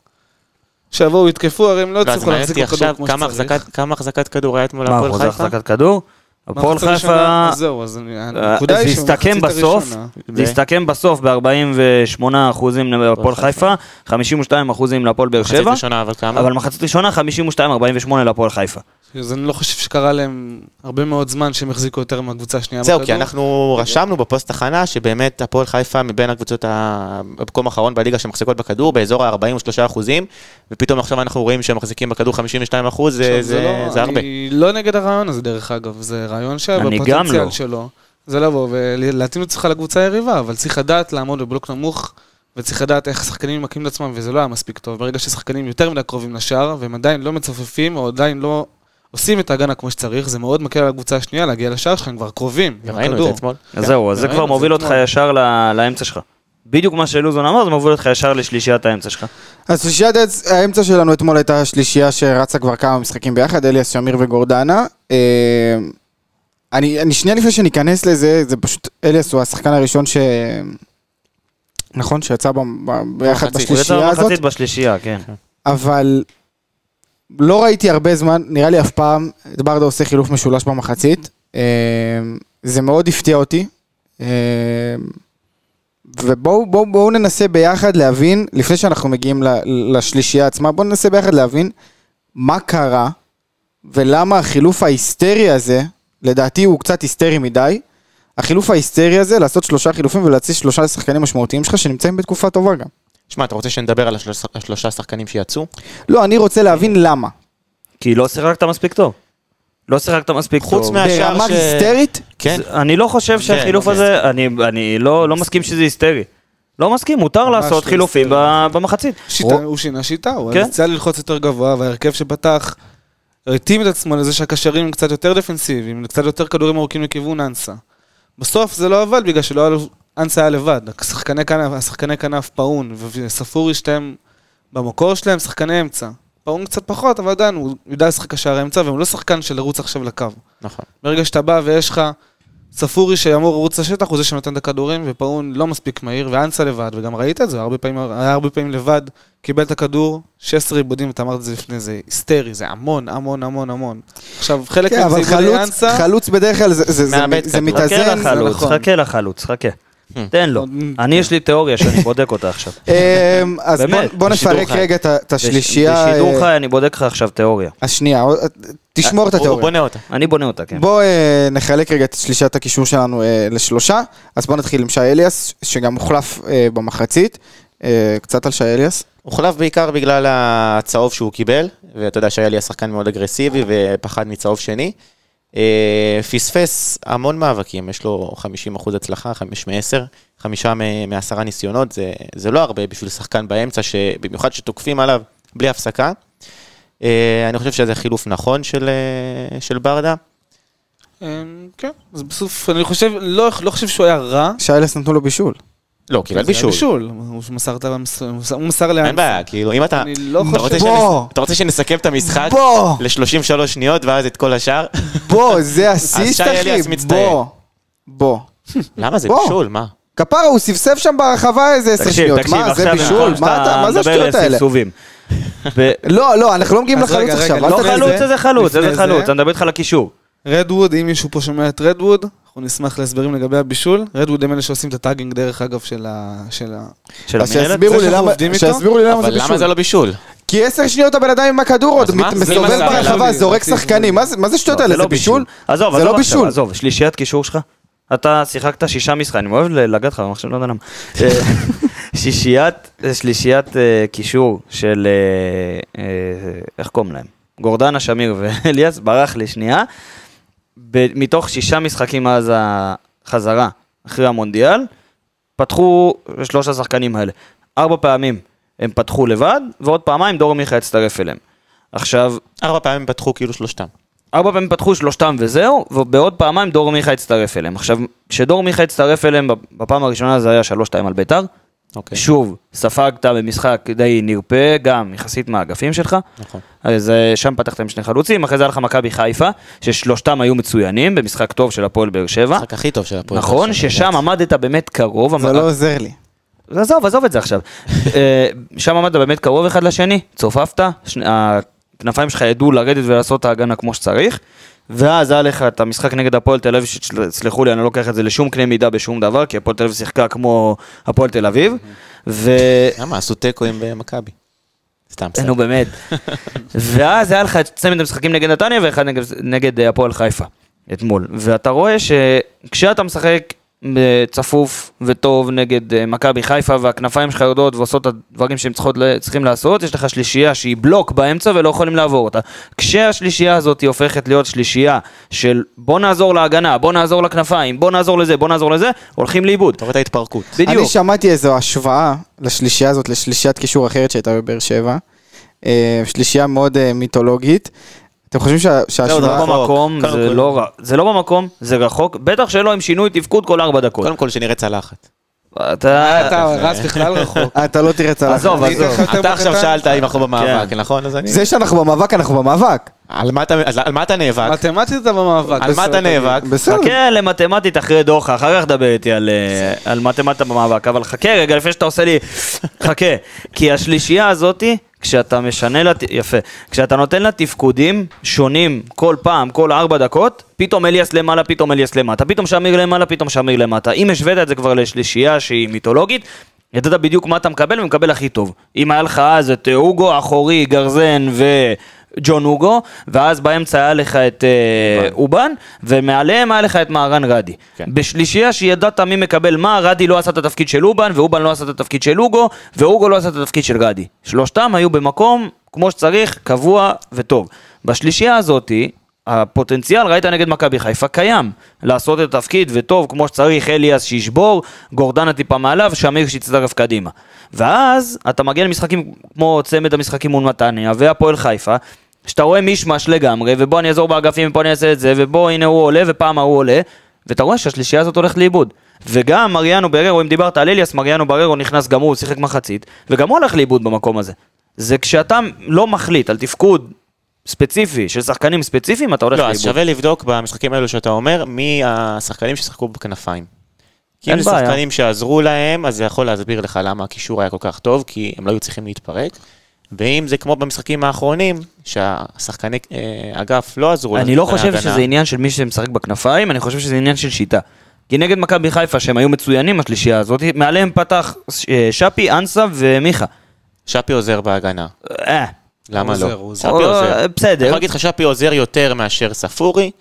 Speaker 5: שיבואו, יתקפו, הרי הם לא
Speaker 2: ואז
Speaker 5: יצליחו
Speaker 2: מעניין
Speaker 5: להחזיק
Speaker 2: אותי
Speaker 5: בכדור
Speaker 2: עכשיו
Speaker 5: כמו
Speaker 2: כמה
Speaker 5: שצריך.
Speaker 2: החזקת- כמה החזקת כדור היה אתמול
Speaker 1: מה,
Speaker 2: להפועל
Speaker 1: אחוז
Speaker 2: חיפה?
Speaker 1: החזקת כדור? הפועל
Speaker 5: במחצית
Speaker 1: חיפה...
Speaker 5: הראשונה- אז זהו, אז אני-
Speaker 1: אה,
Speaker 5: הנקודה
Speaker 1: זה
Speaker 5: היא
Speaker 1: הסתכם
Speaker 5: שבמחצית
Speaker 1: בסוף,
Speaker 5: הראשונה-
Speaker 1: זה הסתכם בסוף ב-48 אחוזים להפועל חיפה, 52 אחוזים להפועל באר
Speaker 2: מחצית
Speaker 1: שבע,
Speaker 2: ראשונה, אבל כמה?
Speaker 1: אבל מחצית ראשונה 52-48 להפועל חיפה.
Speaker 5: אז אני לא חושב שקרה להם הרבה מאוד זמן שהם החזיקו יותר מהקבוצה השנייה
Speaker 2: זהו, כי אנחנו רשמנו בפוסט הכנה שבאמת הפועל חיפה מבין הקבוצות ה- במקום האחרון בליגה שמחזיקות בכדור באזור ה-43 אחוזים, ופתאום עכשיו אנחנו רואים שהם מחזיקים בכדור 52 אחוז,
Speaker 5: עכשיו,
Speaker 2: זה הרבה.
Speaker 5: אני לא נגד הרעיון הזה, דרך אגב. זה רעיון
Speaker 1: אני גם
Speaker 5: שבפוטנציאל
Speaker 1: לא.
Speaker 5: שלו, זה לבוא ולהתאים את עצמך לקבוצה היריבה, אבל צריך לדעת לעמוד בבלוק נמוך, וצריך לדעת איך השחקנים ממכים את עצמם, וזה לא היה מספיק טוב. ברגע ששחקנים יותר מדי קרובים לשער, והם עדיין לא מצופפים, או עדיין לא עושים את ההגנה כמו שצריך, זה מאוד מקל על הקבוצה השנייה להגיע לשער שלך, הם כבר קרובים, עם
Speaker 2: ראינו את כן, זה
Speaker 5: הכדור.
Speaker 2: אתמול.
Speaker 1: אז זהו, אז זה
Speaker 5: ראינו
Speaker 1: כבר
Speaker 5: את זה
Speaker 1: מוביל אותך
Speaker 5: אתמול.
Speaker 1: ישר ל- לאמצע שלך. בדיוק מה שלוזון אמר, זה מוביל אותך ישר לשלישיית האמצע שלך.
Speaker 3: אז שלישיית האצ- האמצע שלנו אתמול הייתה שלישייה שרצה כבר כמה משחקים ביחד, אליאס שמיר וגורדנה. אה, אני, אני שנייה לפני שניכנס לזה, זה פשוט, אליאס הוא השחקן הראשון ש... נכון, שיצא ב- ב- ביחד
Speaker 2: במחצית.
Speaker 1: הוא יצא
Speaker 3: בשלישייה הזאת,
Speaker 1: במחצית בשלישייה, כן.
Speaker 3: אבל לא ראיתי הרבה זמן, נראה לי אף פעם, את ברדה עושה חילוף משולש במחצית. אה, זה מאוד הפתיע אותי. אה, ובואו בואו, בואו ננסה ביחד להבין, לפני שאנחנו מגיעים ל- לשלישייה עצמה, בואו ננסה ביחד להבין מה קרה ולמה החילוף ההיסטרי הזה, לדעתי הוא קצת היסטרי מדי, החילוף ההיסטרי הזה, לעשות שלושה חילופים ולהציץ שלושה שחקנים משמעותיים שלך שנמצאים בתקופה טובה גם.
Speaker 2: שמע, אתה רוצה שנדבר על השלוש- השלושה שחקנים שיצאו?
Speaker 3: לא, אני רוצה להבין למה.
Speaker 1: כי לא שיחקת מספיק טוב. לא שיחקת מספיק טוב.
Speaker 2: חוץ מה- מהשאר
Speaker 3: ברמה
Speaker 2: ש-
Speaker 3: היסטרית?
Speaker 2: כן.
Speaker 1: זה- אני לא חושב שהחילוף
Speaker 2: כן.
Speaker 1: הזה, אני- אני לא לא מסכים שזה היסטרי. לא מסכים, מותר לעשות
Speaker 5: לא
Speaker 1: חילופים
Speaker 5: היסטרי.
Speaker 1: ב- במחצית.
Speaker 5: שיטה, הוא שינה שיטה, הוא
Speaker 1: כן.
Speaker 5: רצה ללחוץ יותר גבוה, וההרכב שפתח התאים את עצמו לזה שהקשרים הם קצת יותר דפנסיביים, קצת יותר כדורים ארוכים לכיוון אנסה. בסוף זה לא עבד בגלל שלא היה לו- אנסה היה לבד, השחקני כנף, השחקני כנף פאון וספורי שתיהם במקור שלהם שחקני אמצע. פאון קצת פחות, אבל עדיין הוא יודע לשחק קשר אמצע, והוא לא שחקן של לרוץ עכשיו לקו.
Speaker 2: נכון.
Speaker 5: ברגע שאתה בא ויש לך ספורי שאמור לרוץ לשטח, הוא זה שנותן את הכדורים, ופאון לא מספיק מהיר, ואנסה לבד, וגם ראית את זה, הרבה פעמים, היה הרבה פעמים לבד, קיבל את הכדור, 16 עיבודים, אתה אמרת את זה לפני, זה היסטרי, זה המון, המון, המון, המון. עכשיו, חלק
Speaker 3: כן, אבל
Speaker 5: מזה עיבודי
Speaker 3: חלוץ,
Speaker 5: אנסה,
Speaker 3: חלוץ בדרך כלל זה- זה- זה-
Speaker 2: מאבד
Speaker 3: זה
Speaker 2: כדור.
Speaker 1: חכה
Speaker 3: מתאזן.
Speaker 1: לחלוץ,
Speaker 5: נכון.
Speaker 1: חכה לחלוץ, חכה. תן לו. אני יש לי תיאוריה שאני בודק אותה עכשיו.
Speaker 3: אמ, אז בוא-
Speaker 1: באמת,
Speaker 3: בוא
Speaker 2: בשידור
Speaker 3: נפרק
Speaker 2: חי.
Speaker 3: רגע את ה- את השלישייה.
Speaker 1: בשידור
Speaker 3: אה,
Speaker 1: חי אני בודק לך עכשיו תיאוריה.
Speaker 3: השנייה, עוד- תשמור את
Speaker 2: הוא- אה, הוא
Speaker 3: התיאוריה.
Speaker 2: בונה אותה.
Speaker 1: אני בונה אותה, כן.
Speaker 3: בוא אה, נחלק רגע את שלישיית הקישור שלנו אה, לשלושה. אז בוא נתחיל עם שי אליאס, שגם הוחלף אה, במחצית. אה, קצת על שי אליאס.
Speaker 2: הוחלף בעיקר בגלל הצהוב שהוא קיבל, ואתה יודע שהיה לי השחקן מאוד אגרסיבי ופחד מצהוב שני. אה, פספס המון מאבקים, יש לו 50% הצלחה, 5 מ-10, 5 מ-10 ניסיונות, זה, זה לא הרבה בשביל שחקן באמצע, במיוחד שתוקפים עליו בלי הפסקה. אה, אני חושב שזה חילוף נכון של, אה, של ברדה.
Speaker 5: אמ, כן, אז בסוף, אני חושב, לא לא חושב שהוא היה רע.
Speaker 3: שי אליאס נתנו לו בישול.
Speaker 2: לא, קיבל
Speaker 5: זה היה
Speaker 2: בישול.
Speaker 5: בישול, הוא מסר את המס- הוא מסר- הוא מסר לאנסה.
Speaker 2: אין בעיה, כאילו, אם אתה...
Speaker 5: אני לא
Speaker 2: אתה רוצה
Speaker 5: חושב...
Speaker 3: בוא.
Speaker 2: שנס- אתה רוצה שנסכם את המשחק
Speaker 3: בוא!
Speaker 2: ל-33 שניות ואז את כל השאר?
Speaker 3: בוא, זה הסיסט,
Speaker 2: שי אליאס
Speaker 3: אחי.
Speaker 2: מצטיין.
Speaker 3: בוא. בוא.
Speaker 2: למה זה
Speaker 3: בוא.
Speaker 2: בישול? מה?
Speaker 3: כפרה, הוא סבסב שם ברחבה איזה עשר
Speaker 1: תקשיב,
Speaker 3: שניות.
Speaker 1: תקשיב,
Speaker 3: מה, זה
Speaker 1: עכשיו
Speaker 3: בישול?
Speaker 1: במקום
Speaker 3: מה אתה- מה זה
Speaker 1: שאתה
Speaker 3: השטויות
Speaker 1: מדבר
Speaker 3: האלה?
Speaker 1: לסבסובים. ו-
Speaker 3: לא, לא, אנחנו לא מגיעים
Speaker 5: אז
Speaker 3: לחלוץ
Speaker 5: רגע, רגע,
Speaker 3: עכשיו.
Speaker 5: לא
Speaker 3: אל
Speaker 1: לא
Speaker 5: לפני
Speaker 3: תתחיל.
Speaker 1: חלוץ,
Speaker 5: זה,
Speaker 1: איזה חלוץ,
Speaker 5: לפני
Speaker 1: איזה
Speaker 5: זה.
Speaker 1: חלוץ, אני מדבר איתך על הקישור.
Speaker 5: רדווד, אם מישהו פה שומע את רדווד, אנחנו נשמח להסברים לגבי הבישול. רדווד הם אלה שעושים את הטאגינג, דרך אגב, של ה... של ה...
Speaker 1: של
Speaker 3: אז
Speaker 1: המנהלת.
Speaker 3: שיסבירו
Speaker 5: זה
Speaker 3: לי
Speaker 5: שאנחנו
Speaker 3: למה-
Speaker 5: עובדים איתו?
Speaker 3: שיסבירו לי למה זה
Speaker 2: אבל למה זה
Speaker 3: בישול.
Speaker 2: לא בישול?
Speaker 3: כי עשר שניות הבן אדם עם הכדור עוד,
Speaker 2: אז מה?
Speaker 3: מת-
Speaker 2: מי
Speaker 3: מסתובב
Speaker 2: מסר עליו?
Speaker 3: ברחבה, זורק
Speaker 5: לא,
Speaker 3: שחקנים. מה זה- מה זה שטויות
Speaker 1: לא,
Speaker 3: האלה?
Speaker 1: לא
Speaker 3: זה בישול?
Speaker 1: עזוב,
Speaker 3: זה
Speaker 1: עזוב
Speaker 3: לא
Speaker 1: עכשיו,
Speaker 3: בישול.
Speaker 1: עזוב, שלישיית קישור שלך. אתה שיחקת שישה משחקים, אני אוהב ל- לגעת לך, אבל עכשיו לא יודע למה. אה, שישיית, שלישיית אה, קישור של, אה, אה, איך קוראים להם? גורדנה, שמיר ואליאס, ברח לי שנייה. ב- מתוך שישה משחקים מאז החזרה, אחרי המונדיאל, פתחו שלוש השחקנים האלה. ארבע פעמים הם פתחו לבד, ועוד פעמיים דור מיכה הצטרף אליהם. עכשיו,
Speaker 2: ארבע פעמים פתחו כאילו שלושתם.
Speaker 1: ארבע פעמים פתחו שלושתם וזהו, ובעוד פעמיים דור מיכה הצטרף אליהם. עכשיו, כשדור מיכה הצטרף אליהם בפעם הראשונה זה היה 3-2 על ביתר.
Speaker 2: אוקיי.
Speaker 1: שוב, ספגת במשחק די נרפה, גם יחסית מהאגפים שלך.
Speaker 2: נכון.
Speaker 1: אז אה, שם פתחת עם שני חלוצים, אחרי זה היה לך מכבי חיפה, ששלושתם היו מצוינים במשחק טוב של הפועל באר שבע.
Speaker 2: המשחק הכי טוב של הפועל.
Speaker 1: נכון,
Speaker 2: באר שבע,
Speaker 1: ששם
Speaker 2: לדעתי.
Speaker 1: עמדת באמת קרוב.
Speaker 3: זה
Speaker 1: המ-
Speaker 3: לא עוזר לי.
Speaker 1: אז עזוב, עזוב את זה עכשיו. אה, שם עמדת באמת קרוב אחד לשני, צופפת, שני- הכנפיים שלך ידעו לרדת ולעשות את ההגנה כמו שצריך, ואז היה לך את המשחק נגד הפועל תל אביב, שתסלחו לי, אני לא לוקח את זה לשום קנה מידה בשום דבר, כי הפועל תל אביב שיחקה כמו הפועל תל אביב, ו...
Speaker 2: למה? עשו תיקו עם אה, מכבי. סתם, סתם.
Speaker 1: נו באמת. ואז היה לך את צמד המשחקים נגד נתניה ואחד נגד, נגד אה, הפועל חיפה אתמול. ואתה רואה שכשאתה משחק אה, צפוף וטוב נגד אה, מכבי חיפה והכנפיים שלך יורדות ועושות את הדברים שהם צריכות, ל- צריכים לעשות, יש לך שלישייה שהיא בלוק באמצע ולא יכולים לעבור אותה. כשהשלישייה הזאת היא הופכת להיות שלישייה של בוא נעזור להגנה, בוא נעזור לכנפיים, בוא נעזור לזה, בוא נעזור לזה, הולכים לאיבוד.
Speaker 2: אתה רואה את ההתפרקות.
Speaker 1: בדיוק.
Speaker 3: אני שמעתי איזו השוואה לשלישייה הזאת, לשלישיית קישור אחרת שהייתה בבאר שבע. אה, שלישייה מאוד אה, מיתולוגית. אתם חושבים שה-
Speaker 1: זה לא
Speaker 3: שההשוואה...
Speaker 2: רחוק.
Speaker 1: במקום,
Speaker 2: קודם
Speaker 1: זה
Speaker 2: כל.
Speaker 1: לא ר- זה לא במקום, זה רחוק, בטח שלא עם שינוי תפקוד כל ארבע דקות.
Speaker 2: קודם כל שנראה צלחת.
Speaker 1: אתה...
Speaker 5: אה, אתה רץ בכלל רחוק.
Speaker 3: אתה לא תראה צלחת.
Speaker 1: עזוב,
Speaker 5: אני אתן לך
Speaker 1: עזוב.
Speaker 5: יותר
Speaker 2: אתה עכשיו
Speaker 5: בקטן.
Speaker 2: שאלת אם אנחנו במאבק,
Speaker 1: כן.
Speaker 2: נכון? אז אני...
Speaker 3: זה שאנחנו במאבק, אנחנו במאבק.
Speaker 2: על מה אתה- אז על מה אתה נאבק?
Speaker 5: מתמטית אתה במאבק.
Speaker 2: על מה
Speaker 5: בסדר,
Speaker 2: אתה נאבק?
Speaker 3: בסדר.
Speaker 1: חכה למתמטית אחרי דוחה, אחר כך דבר איתי על, אה, על מתמטיקה במאבק, אבל חכה רגע לפני שאתה עושה לי, חכה. כי השלישייה הזאתי, כשאתה משנה לה, ת- יפה, כשאתה נותן לה תפקודים שונים כל פעם, כל ארבע דקות, פתאום אליאס למעלה, פתאום אליאס למטה, פתאום שמיר למעלה, פתאום שמיר למטה. אם השווית את זה כבר לשלישייה שהיא מיתולוגית, ידעת בדיוק מה אתה מקבל ומקבל הכי טוב. אם היה לך אז את אה, אוגו, אחורי, גרזן וג'ון אוגו, ואז באמצע היה לך את אה, אובן, ומעליהם היה לך את מהרן רדי.
Speaker 2: כן.
Speaker 1: בשלישייה שידעת מי מקבל מה, רדי לא עשה את התפקיד של אובן, ואובן לא עשה את התפקיד של אוגו, ואוגו לא עשה את התפקיד של רדי. שלושתם היו במקום כמו שצריך, קבוע וטוב. בשלישייה הזאתי, הפוטנציאל, ראית נגד מכבי חיפה, קיים. לעשות את התפקיד, וטוב, כמו שצריך, אליאס שישבור, גורדנה טיפה מעליו, שמיר שיצטרף קדימה. ואז אתה מגיע למשחקים כמו צמד המשחקים מול נתניה והפועל חיפה, שאתה רואה מישמש לגמרי, ובוא אני אעזור באגפים, ופה אני אעשה את זה, ובוא הנה הוא עולה, ופעם ההוא עולה, ואתה רואה שהשלישייה הזאת הולכת לאיבוד. וגם מריאנו בררו, אם דיברת על אליאס, מריאנו בררו נכנס גם הוא, שיחק מחצית, וגם הוא הולך לאיבוד במקום הזה. זה כשאתה לא מחליט על תפקוד ספציפי של שחקנים ספציפיים, אתה הולך
Speaker 2: לא,
Speaker 1: לאיבוד.
Speaker 2: אז שווה לבדוק במשחקים האלו שאתה אומר, מי השחקנים ששיחקו בכנפיים. כי אם
Speaker 1: אין
Speaker 2: זה
Speaker 1: בעיה.
Speaker 2: שחקנים שעזרו להם, אז זה יכול להסביר לך למה הקישור היה כל כך טוב, כי הם לא היו צריכים להתפרק. ואם זה כמו במשחקים האחרונים, שהשחקני אה, אגף לא עזרו
Speaker 1: אני לא
Speaker 2: לשחקני
Speaker 1: חושב
Speaker 2: ההגנה.
Speaker 1: שזה עניין של מי שמשחק בכנפיים, אני חושב שזה עניין של שיטה. כי נגד מכבי חיפה, שהם היו מצוינים, השלישייה הזאת, מעליהם פתח אה, שפי, אנסה ומיכה.
Speaker 2: שפי עוזר בהגנה.
Speaker 1: אה,
Speaker 2: למה
Speaker 5: עוזר,
Speaker 2: לא?
Speaker 5: הוא
Speaker 2: שפי
Speaker 1: עוזר.
Speaker 2: עוזר.
Speaker 1: אה, בסדר.
Speaker 2: אני יכול להגיד לך, שפי עוזר יותר מאשר ספורי,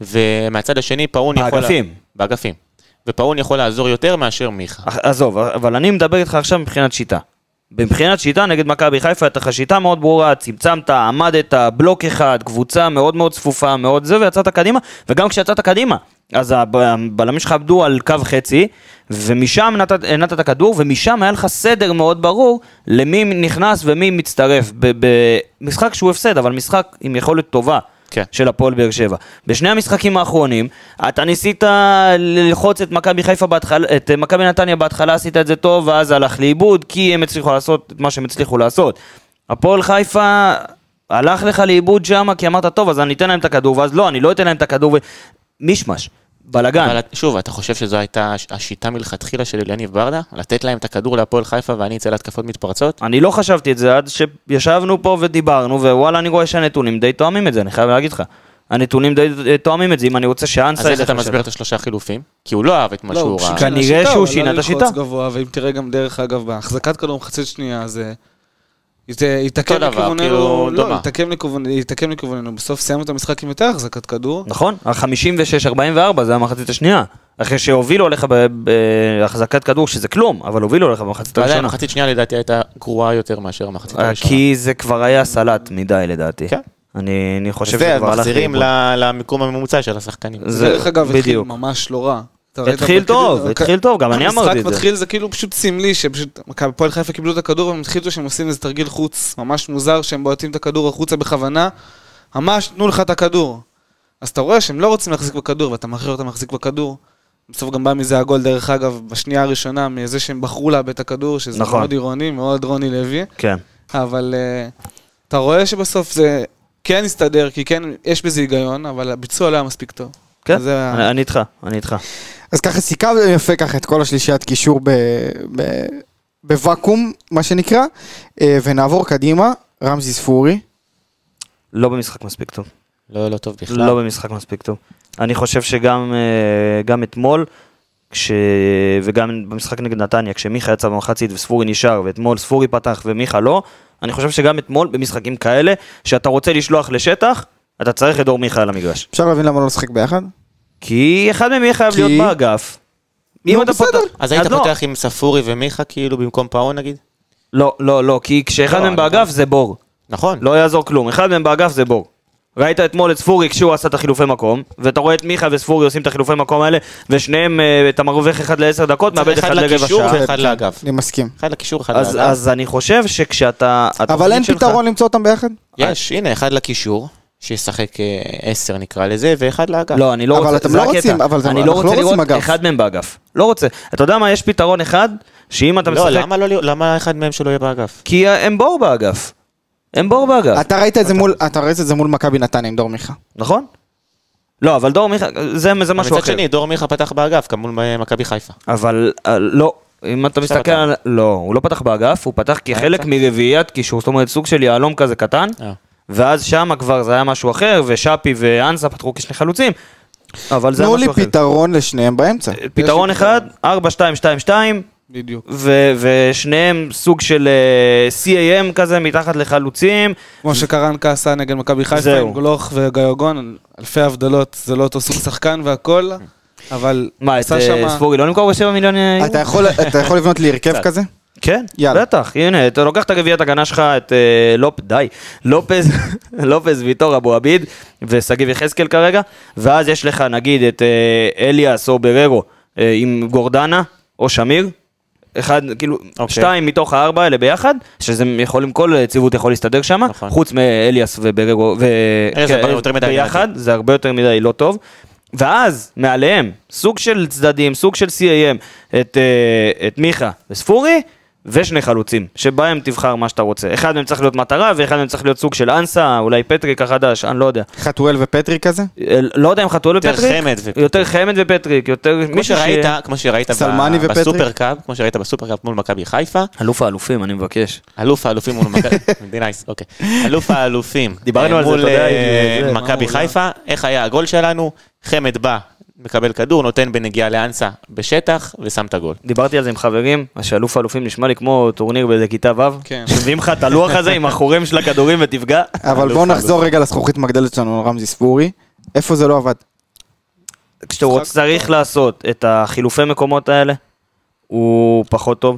Speaker 2: ומהצד השני פאון יכול...
Speaker 1: באגפים.
Speaker 2: באגפים. ופאון יכול לעזור יותר מאשר מיכה.
Speaker 1: אח- עזוב, אבל אני מדבר איתך עכשיו מבחינת שיטה. מבחינת שיטה נגד מכבי חיפה הייתה לך שיטה מאוד ברורה, צמצמת, עמדת, בלוק אחד, קבוצה מאוד מאוד צפופה, מאוד זה, ויצאת קדימה, וגם כשיצאת קדימה, אז הב- הבלמים שלך עבדו על קו חצי, ומשם נתת- הנעת את הכדור, ומשם היה לך סדר מאוד ברור למי נכנס ומי מצטרף, במשחק שהוא הפסד, אבל משחק עם יכולת טובה.
Speaker 2: כן.
Speaker 1: של הפועל באר שבע. בשני המשחקים האחרונים, אתה ניסית ללחוץ את מכבי חיפה בהתחלה, את אה, מכבי נתניה בהתחלה עשית את זה טוב, ואז הלך לאיבוד, כי הם הצליחו לעשות את מה שהם הצליחו לעשות. הפועל חיפה הלך לך לאיבוד שם, כי אמרת, טוב, אז אני אתן להם את הכדור, ואז לא, אני לא אתן להם את הכדור, ו... מישמש, בלאגן.
Speaker 2: אבל שוב, אתה חושב שזו הייתה הש- השיטה מלכתחילה של אליניב ברדה? לתת להם את הכדור להפועל חיפה ואני אצא להתקפות מתפרצות?
Speaker 1: אני לא חשבתי את זה עד שישבנו פה ודיברנו, ווואלה, אני רואה שהנתונים די תואמים את זה, אני חייב להגיד לך. הנתונים די אה, תואמים את זה, אם אני רוצה
Speaker 2: אז
Speaker 1: שאנסה...
Speaker 2: איך אתה
Speaker 1: ילך לשם.
Speaker 2: מסביר את השלושה חילופים? כי הוא לא אהב את מה
Speaker 5: לא,
Speaker 2: שהוא
Speaker 5: הוא
Speaker 2: ראה.
Speaker 5: שינה
Speaker 1: כנראה
Speaker 5: שיטה,
Speaker 1: שהוא
Speaker 5: אבל
Speaker 1: שינה
Speaker 5: לא
Speaker 1: את
Speaker 5: ללחוץ
Speaker 1: השיטה.
Speaker 5: גבוה, ואם תראה גם דרך אגב, בהחזקת כדור מחצית שנייה, זה... ית- יתעכב
Speaker 2: דבר, כאילו,
Speaker 5: לכיווננו, לא,
Speaker 2: דומה.
Speaker 5: יתעכב לכיוון- יתעכב לכיווננו, בסוף סיימנו את המשחק עם יותר החזקת כדור,
Speaker 1: נכון, ה-56-44 זה המחצית השנייה. אחרי שהובילו עליך ב- בהחזקת כדור, שזה כלום, אבל הובילו עליך במחצית
Speaker 2: ועדיין
Speaker 1: הראשונה.
Speaker 2: המחצית שנייה לדעתי הייתה גרועה יותר מאשר המחצית
Speaker 1: אה,
Speaker 2: הראשונה.
Speaker 1: כי זה כבר היה סלט מדי לדעתי.
Speaker 2: כן.
Speaker 1: אני אני חושב
Speaker 2: זה, אז
Speaker 1: שכבר הלך
Speaker 2: מחזירים
Speaker 1: לאיבוד.
Speaker 2: ל- למיקום הממוצע של השחקנים.
Speaker 1: זה-
Speaker 5: דרך אגב, התחיל
Speaker 1: בדיוק.
Speaker 5: ממש לא רע. אתה ראית
Speaker 1: התחיל
Speaker 5: בכדור-
Speaker 1: טוב, התחיל טוב, גם אני אמרתי את זה.
Speaker 5: המשחק מתחיל, זה כאילו פשוט סמלי, שפשוט מכבי- הפועל חיפה קיבלו את הכדור והם התחילו שהם עושים איזה תרגיל חוץ, ממש מוזר שהם בועטים את הכדור החוצה בכוונה, ממש תנו לך את הכדור. אז אתה רואה שהם לא רוצים להחזיק בכדור, ואתה מכריח אותם להחזיק בכדור. בסוף גם בא מזה הגול, דרך אגב, בשנייה הראשונה, מזה שהם בחרו לאבד את הכדור, שזה
Speaker 1: נכון.
Speaker 5: מאוד עירוני, מאוד רוני לוי.
Speaker 1: כן.
Speaker 5: אבל uh, אתה רואה שבסוף זה כן הסתדר, כי כן, יש בזה היגיון, אבל הביצוע לא היה מספיק טוב.
Speaker 1: כן,
Speaker 5: זה ה-
Speaker 1: אני- אני איתך, אני איתך.
Speaker 3: אז ככה סיכמנו יפה ככה את כל השלישיית קישור ב... ב... בוואקום, מה שנקרא, אה, ונעבור קדימה, רמזי ספורי.
Speaker 1: לא במשחק מספיק טוב.
Speaker 2: לא, לא טוב בכלל.
Speaker 1: לא במשחק מספיק טוב. אני חושב שגם אה, גם אתמול, כש... וגם במשחק נגד נתניה, כשמיכה יצא במחצית וספורי נשאר, ואתמול ספורי פתח ומיכה לא, אני חושב שגם אתמול במשחקים כאלה, שאתה רוצה לשלוח לשטח, אתה צריך את דור מיכה על המגרש.
Speaker 3: אפשר להבין למה לא לשחק ביחד?
Speaker 1: אה, כי אחד מהם יהיה חייב
Speaker 3: כי-
Speaker 1: להיות באגף. אם
Speaker 3: נו,
Speaker 1: אתה
Speaker 3: בסדר.
Speaker 1: פותח-
Speaker 2: אז היית
Speaker 1: לא.
Speaker 2: פותח עם ספורי ומיכה כאילו במקום פאון נגיד?
Speaker 1: לא, לא, לא, כי כשאחד
Speaker 2: לא,
Speaker 1: מהם
Speaker 2: אני-
Speaker 1: באגף זה בור.
Speaker 2: נכון.
Speaker 1: לא יעזור כלום, אחד מהם באגף זה בור. ראית אתמול את ספורי כשהוא עשה את החילופי מקום, ואתה רואה את מיכה וספורי עושים את החילופי מקום האלה, ושניהם, אה, אתה מרוויח אחד לעשר דקות,
Speaker 2: צריך
Speaker 1: מאבד
Speaker 2: אחד
Speaker 1: אחד לרבע
Speaker 2: לקישור כן,
Speaker 1: שעה.
Speaker 2: ואחד לאגף.
Speaker 3: כן, אני מסכים.
Speaker 2: אחד לקישור, אחד
Speaker 1: אז,
Speaker 2: לאגף.
Speaker 1: אז אני חושב שכשאתה...
Speaker 3: אבל
Speaker 1: התוכנית
Speaker 3: אין
Speaker 1: שלך-
Speaker 3: פתרון למצוא אותם ביחד?
Speaker 2: יש, הנה, אחד לקישור, שישחק אה, עשר נקרא לזה, ואחד לאגף.
Speaker 1: לא, אני לא
Speaker 3: אבל
Speaker 1: רוצה,
Speaker 3: אתם
Speaker 1: זה
Speaker 3: לא
Speaker 1: הקטע.
Speaker 3: רוצים- אבל זה-
Speaker 1: אני
Speaker 3: אנחנו
Speaker 1: לא
Speaker 3: לא
Speaker 1: רוצה
Speaker 3: רוצים
Speaker 1: לראות
Speaker 3: אגף.
Speaker 1: אחד מהם באגף. לא רוצה. אתה יודע מה, יש פתרון אחד, שאם אתה
Speaker 2: לא,
Speaker 1: משחק...
Speaker 2: למה לא להיות- למה אחד מהם שלא יהיה באגף?
Speaker 1: כי אה, הם בור באגף. הם בור באגף.
Speaker 3: אתה ראית את זה מול, אתה ראית את זה מול מכבי נתניה עם דור מיכה.
Speaker 1: נכון? לא, אבל דור מיכה, זה, זה משהו
Speaker 2: מצד
Speaker 1: אחר.
Speaker 2: שני, דור מיכה פתח באגף, גם מול אה, מכבי חיפה.
Speaker 1: אבל אה, לא, אם אתה
Speaker 2: עכשיו
Speaker 1: מסתכל
Speaker 2: אתה.
Speaker 1: על... לא, הוא לא פתח באגף, הוא פתח כחלק
Speaker 2: באמצע?
Speaker 1: מרביעיית קישור, זאת אומרת סוג של יהלום כזה קטן,
Speaker 2: אה.
Speaker 1: ואז שמה כבר זה היה משהו אחר, ושאפי ואנסה פתחו כשני חלוצים, אבל זה היה
Speaker 3: תנו לי
Speaker 1: משהו אחר. אה,
Speaker 3: פתרון לשניהם באמצע.
Speaker 1: פתרון
Speaker 5: יש לי
Speaker 1: אחד, 4, 2, 2, 2,
Speaker 5: בדיוק.
Speaker 1: ושניהם סוג של אה, CAM כזה מתחת לחלוצים,
Speaker 5: כמו שקרנקה עשה נגד מכבי חיפה
Speaker 1: זהו.
Speaker 5: עם גלוך וגיוגון, אלפי הבדלות, זה לא אותו סוג שחקן והכל, אבל
Speaker 1: מה, את
Speaker 5: עשה
Speaker 1: אה,
Speaker 5: שמה-
Speaker 1: ספורי לא נמכור ב-7 מיליון אה, יורו?
Speaker 3: אתה יכול, אתה יכול לבנות לי הרכב כזה?
Speaker 1: כן,
Speaker 3: יאללה.
Speaker 1: בטח, הנה, אתה לוקח את הרביעיית הגנה שלך, את אה, לופ... די, לופז, לופז ויטור אבו עביד ושגיב יחזקאל כרגע, ואז יש לך נגיד את אה, אליאס או בררו אה, עם גורדנה או שמיר, אחד, כאילו,
Speaker 2: אוקיי.
Speaker 1: שתיים מתוך הארבע האלה ביחד, שזה יכולים, כל אה, ציוות יכול להסתדר שם,
Speaker 2: נכון.
Speaker 1: חוץ מאליאס ובררו, ו...
Speaker 2: אליאס זה
Speaker 1: כן,
Speaker 2: יותר מדי
Speaker 1: ביחד, זה הרבה יותר מדי לא טוב. ואז, מעליהם, סוג של צדדים, סוג של CAM, את, אה, את מיכה וספורי, ושני חלוצים, שבהם תבחר מה שאתה רוצה. אחד מהם צריך להיות מטרה, ואחד מהם צריך להיות סוג של אנסה, אולי פטריק החדש, אני לא יודע.
Speaker 3: חתואל ופטרי כזה?
Speaker 1: אה, לא יודע אם חתואל
Speaker 2: יותר
Speaker 1: ופטריק.
Speaker 2: חמד ופטריק.
Speaker 1: יותר חמד ופטריק, יותר
Speaker 2: כמו
Speaker 1: מישהו
Speaker 2: שראית, כמו שראית ב-
Speaker 3: סלמני ופטריק?
Speaker 2: בסופרקאפ, כמו שראית בסופרקאפ מול מכבי חיפה,
Speaker 1: אלוף האלופים, אני מבקש.
Speaker 2: אלוף האלופים מול מכבי, נייס, אוקיי, אלוף האלופים,
Speaker 1: דיברנו
Speaker 2: אה,
Speaker 1: על זה,
Speaker 2: מול
Speaker 1: אתה יודע,
Speaker 2: אה,
Speaker 1: זה, מה
Speaker 2: מכבי
Speaker 1: הוא לא-
Speaker 2: חיפה, איך היה הגול שלנו, חמד בא, מקבל כדור, נותן בנגיעה לאנסה בשטח, ושם את הגול.
Speaker 1: דיברתי על זה עם חברים, אז שאלוף האלופים נשמע לי כמו טורניר באיזה כיתה ו'.
Speaker 5: כן.
Speaker 1: שמביאים לך את הלוח הזה עם החורים של הכדורים ותפגע.
Speaker 3: אבל בואו נחזור רגע לזכוכית מגדלת שלנו, רמזי ספורי. איפה זה לא עבד?
Speaker 1: כשאתה רוצה, צריך לעשות את החילופי מקומות האלה, הוא פחות טוב.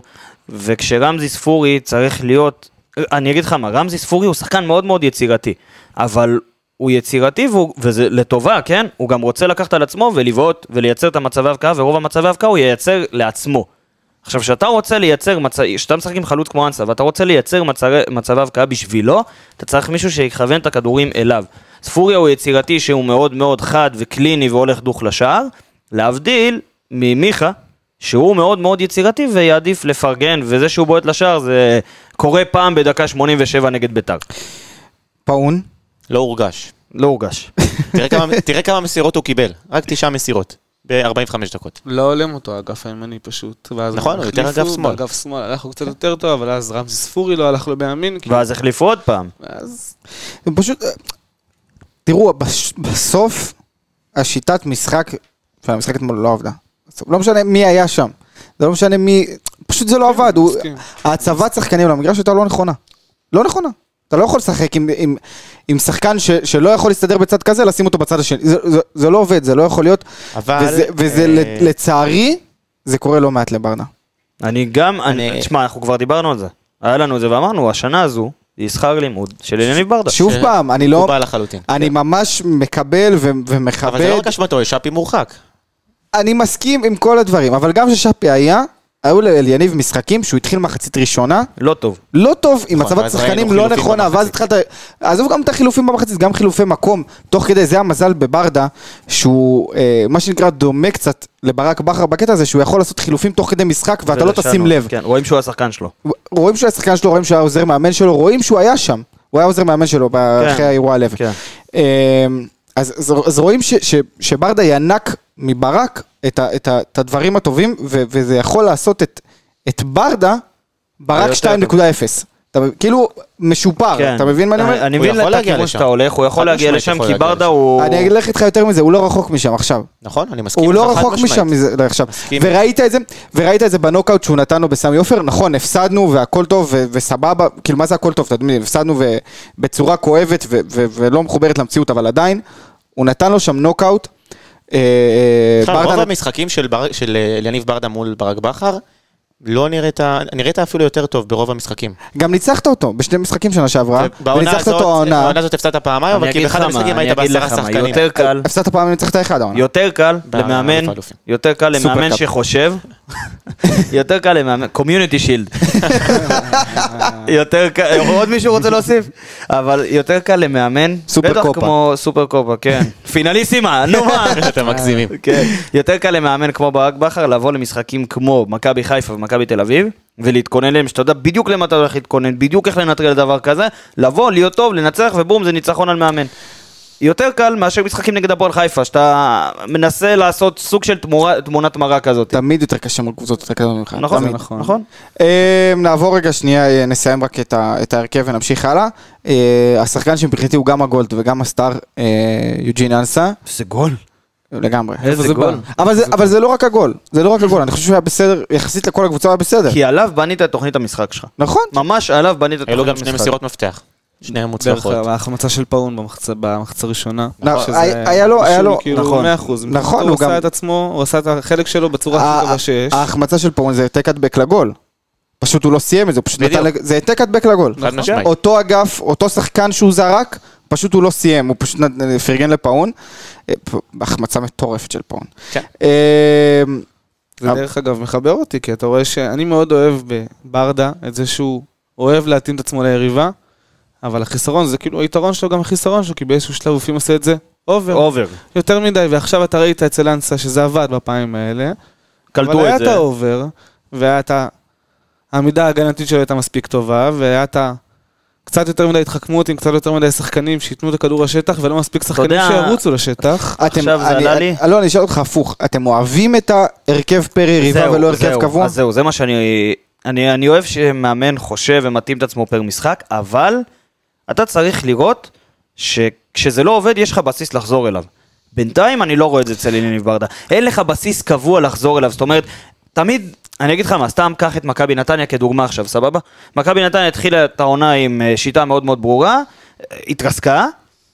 Speaker 1: וכשרמזי ספורי צריך להיות, אני אגיד לך מה, רמזי ספורי הוא שחקן מאוד מאוד יצירתי, אבל הוא יצירתי והוא, וזה לטובה, כן? הוא גם רוצה לקחת על עצמו ולבעוט ולייצר את המצבי הבקעה, ורוב המצבי הבקעה הוא ייצר לעצמו. עכשיו, כשאתה רוצה לייצר, מצ... כשאתה משחק עם חלוץ כמו אנסה, ואתה רוצה לייצר מצ... מצבי הבקעה בשבילו, אתה צריך מישהו שיכוון את הכדורים אליו. ספוריה הוא יצירתי שהוא מאוד מאוד חד וקליני והולך דוך לשער, להבדיל ממיכה, שהוא מאוד מאוד יצירתי ויעדיף לפרגן, וזה שהוא בועט לשער זה קורה פעם בדקה 87 נגד ביתר.
Speaker 3: פאון?
Speaker 2: לא הורגש.
Speaker 1: לא הורגש.
Speaker 2: תראה כמה- תראה כמה מסירות הוא קיבל, רק תשע מסירות, ב-45 דקות.
Speaker 5: לא הולם אותו האגף הימני פשוט. ואז
Speaker 2: נכון,
Speaker 5: הם
Speaker 2: הוא יותר
Speaker 5: החליפו,
Speaker 2: אגף שמאל.
Speaker 5: באגף שמאל הלך הוא קצת יותר טוב, אבל אז רמזי ספורי לא הלך לו בימין. כי-
Speaker 1: ואז החליפו עוד פעם.
Speaker 5: ואז...
Speaker 3: הם פשוט... אה, תראו, בש- בסוף השיטת משחק, והמשחק אתמול לא עבדה. לא משנה מי היה שם. זה לא משנה מי... פשוט זה לא עבד. הוא-
Speaker 5: מסכים.
Speaker 3: ההצבת שחקנים למגרש הייתה לא נכונה. לא נכונה. אתה לא יכול לשחק עם, עם, עם שחקן ש, שלא יכול להסתדר בצד כזה, לשים אותו בצד השני. זה, זה, זה לא עובד, זה לא יכול להיות.
Speaker 2: אבל,
Speaker 3: וזה, וזה
Speaker 2: אה,
Speaker 3: ל- לצערי, זה קורה לא מעט לברדה.
Speaker 1: אני גם, אני, תשמע, אנחנו כבר דיברנו על זה. היה לנו את זה ואמרנו, השנה הזו היא שכר לימוד של אליניב ברדה.
Speaker 3: שוב
Speaker 2: לא, ש-
Speaker 3: פעם, אני
Speaker 2: הוא
Speaker 3: לא...
Speaker 2: בא לחלוטין.
Speaker 3: אני ממש מקבל ו-
Speaker 2: אבל זה לא
Speaker 3: ומכבד.
Speaker 2: רק אשמתו, יש שפי מורחק.
Speaker 3: אני מסכים עם כל הדברים, אבל גם כששאפי היה, היו לאליניב משחקים שהוא התחיל מחצית ראשונה,
Speaker 1: לא טוב.
Speaker 3: לא טוב עם
Speaker 2: נכון,
Speaker 3: הצבת
Speaker 2: ואז ראינו
Speaker 3: שחקנים לא
Speaker 2: חילופים
Speaker 3: נכונה, ואז התחלת... עזוב גם את החילופים במחצית, גם חילופי מקום. תוך כדי, זה המזל בברדה, שהוא אה, מה שנקרא דומה קצת לברק בכר בקטע הזה, שהוא יכול לעשות חילופים תוך כדי משחק ואתה לא
Speaker 1: ולשנות.
Speaker 3: תשים לב.
Speaker 1: כן, רואים שהוא השחקן שלו.
Speaker 3: רואים שהוא היה שחקן שלו, רואים שהוא היה עוזר מאמן שלו, רואים שהוא היה שם. הוא היה עוזר מאמן שלו ב-
Speaker 1: כן.
Speaker 3: אחרי האירוע הלב.
Speaker 1: כן.
Speaker 3: אמ, אז, אז, אז רואים ש, ש, שברדה ינק מברק את, ה, את, ה, את הדברים הטובים, ו, וזה יכול לעשות את, את ברדה ברק
Speaker 1: היותר
Speaker 3: 2.0. אתה מב- כאילו משופר,
Speaker 1: כן.
Speaker 3: אתה מבין מה אני אומר?
Speaker 1: אני
Speaker 2: הוא
Speaker 1: מבין
Speaker 2: יכול
Speaker 1: את
Speaker 2: להגיע
Speaker 1: הכיוון
Speaker 2: לשם.
Speaker 1: שאתה הולך, הוא יכול
Speaker 2: חד
Speaker 1: להגיע
Speaker 2: משמעית
Speaker 1: לשם,
Speaker 2: יכול
Speaker 1: כי
Speaker 2: להגיע
Speaker 1: ברדה
Speaker 2: לשם.
Speaker 1: הוא...
Speaker 3: אני אלך איתך יותר מזה, הוא לא רחוק משם עכשיו.
Speaker 2: נכון, אני מסכים.
Speaker 3: הוא
Speaker 2: איתך
Speaker 3: לא
Speaker 2: חד
Speaker 3: רחוק
Speaker 2: משמעית.
Speaker 3: משם מזה עכשיו.
Speaker 2: מסכים.
Speaker 3: וראית את זה, וראית את זה בנוקאוט שהוא נתן לו בסמי עופר, נכון, הפסדנו והכל טוב ו- וסבבה, כאילו מה זה הכל טוב, אתה יודע, הפסדנו בצורה כואבת ו- ו- ולא מחוברת למציאות, אבל עדיין, הוא נתן לו שם נוקאוט. אה, אה,
Speaker 2: בכלל, רוב
Speaker 3: ברדה-
Speaker 2: המשחקים של בר- של אה, אליניב ברדה מול ברק בכר, לא נראית, נראית אפילו יותר טוב ברוב המשחקים.
Speaker 3: גם ניצחת אותו בשני משחקים שנה שעברה,
Speaker 2: בעונה
Speaker 3: וניצחת
Speaker 2: הזאת,
Speaker 3: אותו העונה,
Speaker 2: בעונה הזאת הפסדת פעמיים, אבל כי באחד המשחקים היית בעשרה שחקנים.
Speaker 1: יותר קל,
Speaker 3: הפסדת פעם וניצחת אחד העונה.
Speaker 1: יותר קל
Speaker 2: ב-
Speaker 1: למאמן,
Speaker 2: אלוף האלופים.
Speaker 1: יותר קל
Speaker 3: אה, סופר
Speaker 1: למאמן
Speaker 3: קאפ.
Speaker 1: שחושב, יותר קל למאמן, קומיוניטי שילד. יותר קל, אה, עוד מישהו רוצה להוסיף? אבל יותר קל למאמן,
Speaker 3: סופר
Speaker 1: בטח
Speaker 3: קופה.
Speaker 1: כמו סופר קופה, כן. פינליסימה, נו מה.
Speaker 2: אתם מגזימים.
Speaker 1: כן. יותר קל למאמן כמו ברק בכר לבוא למשחקים כמו מכבי חיפה ומכבי תל אביב, ולהתכונן להם, שאתה יודע בדיוק למה אתה הולך להתכונן, בדיוק איך לנטרל דבר כזה, לבוא, להיות טוב, לנצח, ובום, זה ניצחון על מאמן. יותר קל מאשר משחקים נגד הפועל חיפה, שאתה מנסה לעשות סוג של תמורה, תמונת מראה כזאת.
Speaker 3: תמיד יותר קשה מול קבוצות יותר קטנות ממך.
Speaker 1: נכון,
Speaker 3: תמיד.
Speaker 1: נכון. נכון.
Speaker 3: אה, נעבור רגע שנייה, אה, נסיים רק את, ה, את ההרכב ונמשיך הלאה. אה, השחקן שמבחינתי הוא גם הגולד וגם הסטאר, אה, יוג'ין אנסה,
Speaker 1: זה גול.
Speaker 3: לגמרי.
Speaker 1: איזה
Speaker 5: זה
Speaker 1: גול.
Speaker 5: בא?
Speaker 3: אבל זה, אבל זה לא רק הגול, זה לא רק הגול, אני חושב שהוא היה בסדר, יחסית לכל הקבוצה הוא היה בסדר.
Speaker 1: כי עליו בנית את תוכנית המשחק שלך.
Speaker 3: נכון.
Speaker 1: ממש עליו בנית את תוכנית
Speaker 2: היו לו גם
Speaker 1: המשחק.
Speaker 2: שני מסירות מפתח. שניהם
Speaker 5: דרך
Speaker 2: מוצלחות.
Speaker 5: אגב, ההחמצה של פאון במחצה- במחצה הראשונה.
Speaker 3: נכון,
Speaker 5: שזה-
Speaker 3: היה- היה לו- היה
Speaker 5: שהוא
Speaker 3: לו-
Speaker 5: כאילו
Speaker 3: נכון.
Speaker 5: 100%.
Speaker 3: נכון,
Speaker 5: הוא
Speaker 3: הוא גם- אה,
Speaker 5: עשה את עצמו, הוא עשה את החלק שלו בצורה הכי טובה שיש.
Speaker 3: ההחמצה של פורן זה העתק הדבק לגול. פשוט הוא לא סיים את זה, הוא פשוט נתן...
Speaker 2: בדיוק.
Speaker 3: לג- זה העתק הדבק לגול.
Speaker 2: חד
Speaker 1: נכון.
Speaker 2: משמעית.
Speaker 3: אותו אגף, אותו שחקן שהוא זרק, פשוט הוא לא סיים, הוא פשוט נ- פרגן לפאון. אה, פ- החמצה מטורפת של פאון.
Speaker 2: כן.
Speaker 3: אה,
Speaker 5: זה דרך אגב מחבר אותי, כי אתה רואה שאני מאוד אוהב בברדה את זה שהוא אוהב להתאים את עצמו ליריבה, אבל החיסרון זה כאילו היתרון שלו גם החיסרון שלו, כי באיזשהו שלב הוא לפעמים עושה את זה אובר,
Speaker 1: אובר.
Speaker 5: יותר מדי, ועכשיו אתה ראית אצל אנסה שזה עבד בפעמים האלה, אבל
Speaker 1: קלטו
Speaker 5: היה
Speaker 1: את
Speaker 5: את
Speaker 1: זה.
Speaker 5: האובר, והיה את ה- העמידה ההגנתית שלו הייתה מספיק טובה, והיה את ה... קצת יותר מדי התחכמות עם קצת יותר מדי שחקנים שייתנו את הכדור לשטח, ולא מספיק שחקנים
Speaker 1: יודע-
Speaker 5: שירוצו לשטח.
Speaker 3: אתם,
Speaker 1: עכשיו זה
Speaker 3: אני,
Speaker 1: עלה
Speaker 3: אני-
Speaker 1: לי?
Speaker 3: לא, אני אשאל אותך הפוך. אתם אוהבים את ההרכב פר יריבה
Speaker 1: זהו,
Speaker 3: ולא הרכב
Speaker 1: זהו,
Speaker 3: קבוע?
Speaker 1: אז זהו, זה מה שאני... אני, אני אוהב שמאמן חושב ומתאים את עצמו פר משחק, אבל אתה צריך לראות שכשזה לא עובד, יש לך בסיס לחזור אליו. בינתיים אני לא רואה את זה אצל אליניב ברדה. אין לך בסיס קבוע לחזור אליו, זאת אומרת, תמיד, אני אגיד לך מה, סתם קח את מכבי נתניה כדוגמה עכשיו, סבבה? מכבי נתניה התחילה את העונה עם אה, שיטה מאוד מאוד ברורה, אה, התרסקה,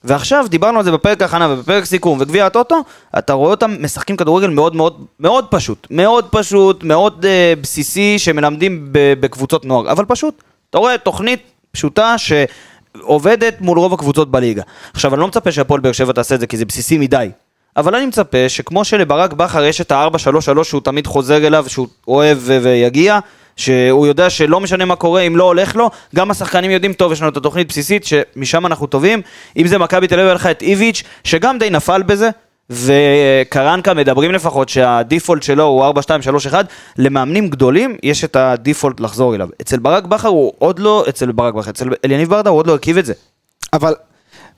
Speaker 1: ועכשיו דיברנו על זה בפרק הכנה ובפרק סיכום וגביע הטוטו, אתה רואה אותם משחקים כדורגל מאוד מאוד מאוד פשוט, מאוד פשוט, מאוד אה, בסיסי, שמלמדים ב- בקבוצות נוער, אבל פשוט. אתה רואה תוכנית פשוטה ש... עובדת מול רוב הקבוצות בליגה. עכשיו, אני לא מצפה שהפועל באר שבע תעשה את זה, כי זה בסיסי מדי. אבל אני מצפה שכמו שלברק בכר יש את ה-4-3-3 שהוא תמיד חוזר אליו, שהוא אוהב ו- ויגיע, שהוא יודע שלא משנה מה קורה, אם לא הולך לו, גם השחקנים יודעים טוב, יש לנו את התוכנית בסיסית שמשם אנחנו טובים. אם זה מכבי תל אביב, היה לך את איביץ', שגם די נפל בזה, וקרנקה מדברים לפחות שהדיפולט שלו הוא 4-2-3-1, למאמנים גדולים יש את הדיפולט לחזור אליו. אצל ברק בכר הוא עוד לא, אצל ברק בכר, אצל אליניב ברדה הוא עוד לא הרכיב את זה.
Speaker 3: אבל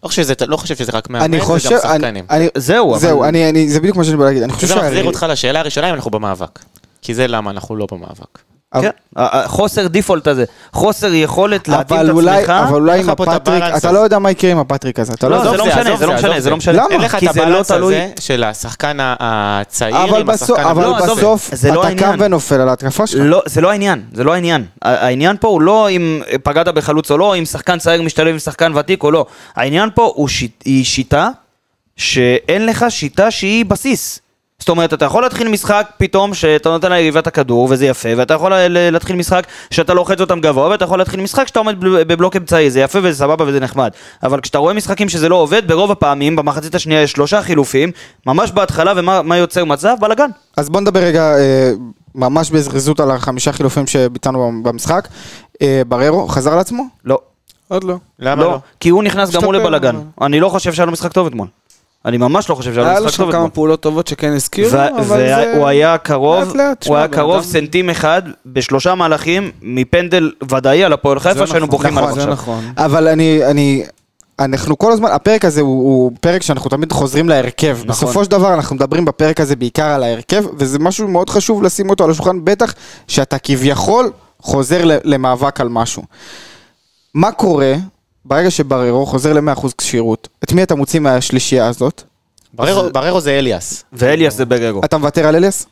Speaker 2: לא חושב שזה- לא חושב שזה רק מאמן,
Speaker 3: אני
Speaker 2: זה גם
Speaker 3: חושב... אני-
Speaker 2: שחקנים.
Speaker 3: אני-
Speaker 1: זהו, אבל-
Speaker 3: זהו, אני- אני- זה בדיוק מה שאני בא להגיד. אני חושב
Speaker 2: זה
Speaker 3: שה-
Speaker 2: מחזיר אותך לשאלה הראשונה אם אנחנו במאבק. כי זה למה אנחנו לא במאבק.
Speaker 3: אבל-
Speaker 1: כן, ה- ה- חוסר דיפולט הזה, חוסר יכולת להתאים
Speaker 3: אבל
Speaker 1: את
Speaker 3: אולי,
Speaker 1: עצמך.
Speaker 3: אבל אולי
Speaker 2: אין לך
Speaker 3: עם
Speaker 2: פה את
Speaker 3: הפטריק,
Speaker 2: הבלנס
Speaker 3: אתה
Speaker 2: הזה.
Speaker 3: לא יודע מה יקרה עם הפטריק הזה, אתה לא
Speaker 1: לא,
Speaker 3: יודע.
Speaker 1: זה לא
Speaker 2: עזוב,
Speaker 1: משנה,
Speaker 2: עזוב,
Speaker 1: זה לא
Speaker 2: זה,
Speaker 1: משנה,
Speaker 2: עזוב,
Speaker 1: זה לא
Speaker 2: זה.
Speaker 1: משנה.
Speaker 3: למה?
Speaker 2: אין לך
Speaker 1: כי
Speaker 2: את
Speaker 1: זה לא
Speaker 2: הבלנס
Speaker 1: תלוי.
Speaker 2: הזה של השחקן ה- הצעיר
Speaker 3: אבל
Speaker 2: עם
Speaker 3: בסוף,
Speaker 2: השחקן...
Speaker 3: אבל
Speaker 2: הגדול.
Speaker 1: לא, עזוב,
Speaker 3: בסוף
Speaker 1: זה לא
Speaker 3: אתה קם
Speaker 1: העניין.
Speaker 3: ונופל על ההתקפה שלך.
Speaker 1: לא, זה לא העניין, זה לא העניין. ה- העניין פה הוא לא אם פגעת בחלוץ או לא, אם שחקן צעיר משתלב עם שחקן ותיק או לא. העניין פה הוא שיט, היא שיטה שאין לך שיטה שהיא בסיס. זאת זאת אומרת, אתה יכול להתחיל משחק פתאום שאתה נותן ליריבה את הכדור, וזה יפה, ואתה יכול ל- ל- להתחיל משחק שאתה לוחץ אותם גבוה, ואתה יכול להתחיל משחק שאתה עומד בל- בבלוק אמצעי, זה יפה וזה סבבה וזה נחמד. אבל כשאתה רואה משחקים שזה לא עובד, ברוב הפעמים, במחצית השנייה יש שלושה חילופים, ממש בהתחלה, ומה מה יוצר מצב? בלאגן.
Speaker 3: אז בוא נדבר רגע אה, ממש בזריזות על החמישה חילופים שביצענו במשחק. אה, בררו חזר לעצמו?
Speaker 1: לא.
Speaker 5: עוד לא.
Speaker 2: למה לא?
Speaker 1: כי הוא נכנס גם הוא
Speaker 5: השתפר,
Speaker 1: לבלאגן.
Speaker 5: אבל-
Speaker 1: אני לא חושב שהיה לו משחק טוב אתמול. אני ממש לא חושב שהיה
Speaker 5: היה
Speaker 1: לו
Speaker 5: לו
Speaker 1: משחק טוב
Speaker 5: שם
Speaker 1: אתמול.
Speaker 5: כמה פעולות טובות שכן הזכירו, אבל זה...
Speaker 1: והוא היה קרוב,
Speaker 5: לאט לאט,
Speaker 1: הוא
Speaker 5: שמע,
Speaker 1: היה
Speaker 5: בן
Speaker 1: קרוב
Speaker 5: אדם-
Speaker 1: סנטים אחד בשלושה מהלכים מפנדל ודאי על הפועל חיפה
Speaker 5: נכון,
Speaker 1: שהיינו בוכים עליו
Speaker 5: נכון, זה
Speaker 1: עכשיו.
Speaker 5: נכון.
Speaker 3: אבל אני, אני, אנחנו כל הזמן, הפרק הזה הוא, הוא פרק שאנחנו תמיד חוזרים להרכב. נכון. בסופו של דבר אנחנו מדברים בפרק הזה בעיקר על ההרכב, וזה משהו מאוד חשוב לשים אותו על השולחן, בטח שאתה כביכול חוזר ל- למאבק על משהו. מה קורה ברגע שבררו חוזר ל-100% כשירות? את מי אתה מוציא מהשלישייה הזאת?
Speaker 2: בררו- בררו זה אליאס.
Speaker 1: ואליאס זה ברגו.
Speaker 3: אתה מוותר על אליאס?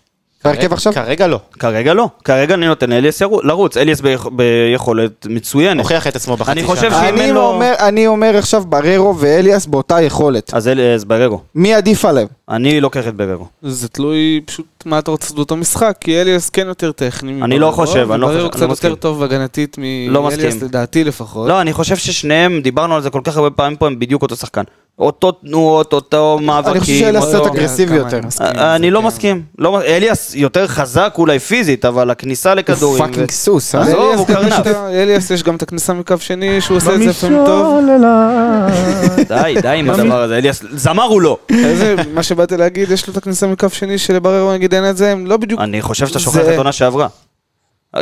Speaker 3: בהרכב עכשיו?
Speaker 2: כרגע לא.
Speaker 1: כרגע לא, כרגע אני נותן לאליאס ירו- לרוץ, אליאס ביכ- ביכולת מצוינת.
Speaker 2: הוכיח את עצמו בחצי שנה.
Speaker 1: אני חושב ש- אם
Speaker 3: אני
Speaker 1: אין לו-
Speaker 3: אומר, אני אומר עכשיו בררו ואליאס באותה יכולת.
Speaker 1: אז אליאס ברגו.
Speaker 3: מי עדיף עליהם?
Speaker 1: אני לוקח את ברגו.
Speaker 5: זה תלוי פשוט מה אתה רוצה לעשות באותו משחק, כי אליאס כן יותר טכני.
Speaker 1: אני לא
Speaker 5: מבררו,
Speaker 1: חושב, אני לא
Speaker 5: ובררו
Speaker 1: חושב, אני לא
Speaker 5: קצת יותר
Speaker 1: מסכים.
Speaker 5: טוב הגנתית
Speaker 1: לא מסכים.
Speaker 5: מאליאס, לדעתי לפחות.
Speaker 1: לא, אני חושב ששניהם, דיברנו על זה כל כך הרבה פעמים פה, הם בדיוק אותו שחקן. אותו תנועות, אותו מאבקים.
Speaker 3: אני חושב שאליאס
Speaker 1: אותו-
Speaker 3: קצת
Speaker 5: לא,
Speaker 3: אגרסיבי
Speaker 5: כמה
Speaker 3: יותר.
Speaker 5: אני מסכים עם זה,
Speaker 1: אני לא
Speaker 5: כן.
Speaker 1: מסכים. לא מ- אליאס יותר חזק אולי פיזית, אבל הכניסה
Speaker 3: הוא
Speaker 1: לכדורים...
Speaker 3: פאקינג סוס, אה?
Speaker 1: עזוב,
Speaker 5: לאליאס
Speaker 1: הוא
Speaker 5: יש
Speaker 1: קרנף.
Speaker 5: את ה- לאליאס יש גם את הכניסה מקו שני, שהוא עושה את זה לפעמים טוב.
Speaker 1: די, די עם הדבר הזה, אליאס, זמר הוא לא.
Speaker 5: איזה, מה שבאתי להגיד, יש לו את הכניסה מקו שני שלבררו נגיד אין את זה, הם לא בדיוק...
Speaker 1: אני חושב שאתה שוכח
Speaker 5: זה-
Speaker 1: את עונה שעברה.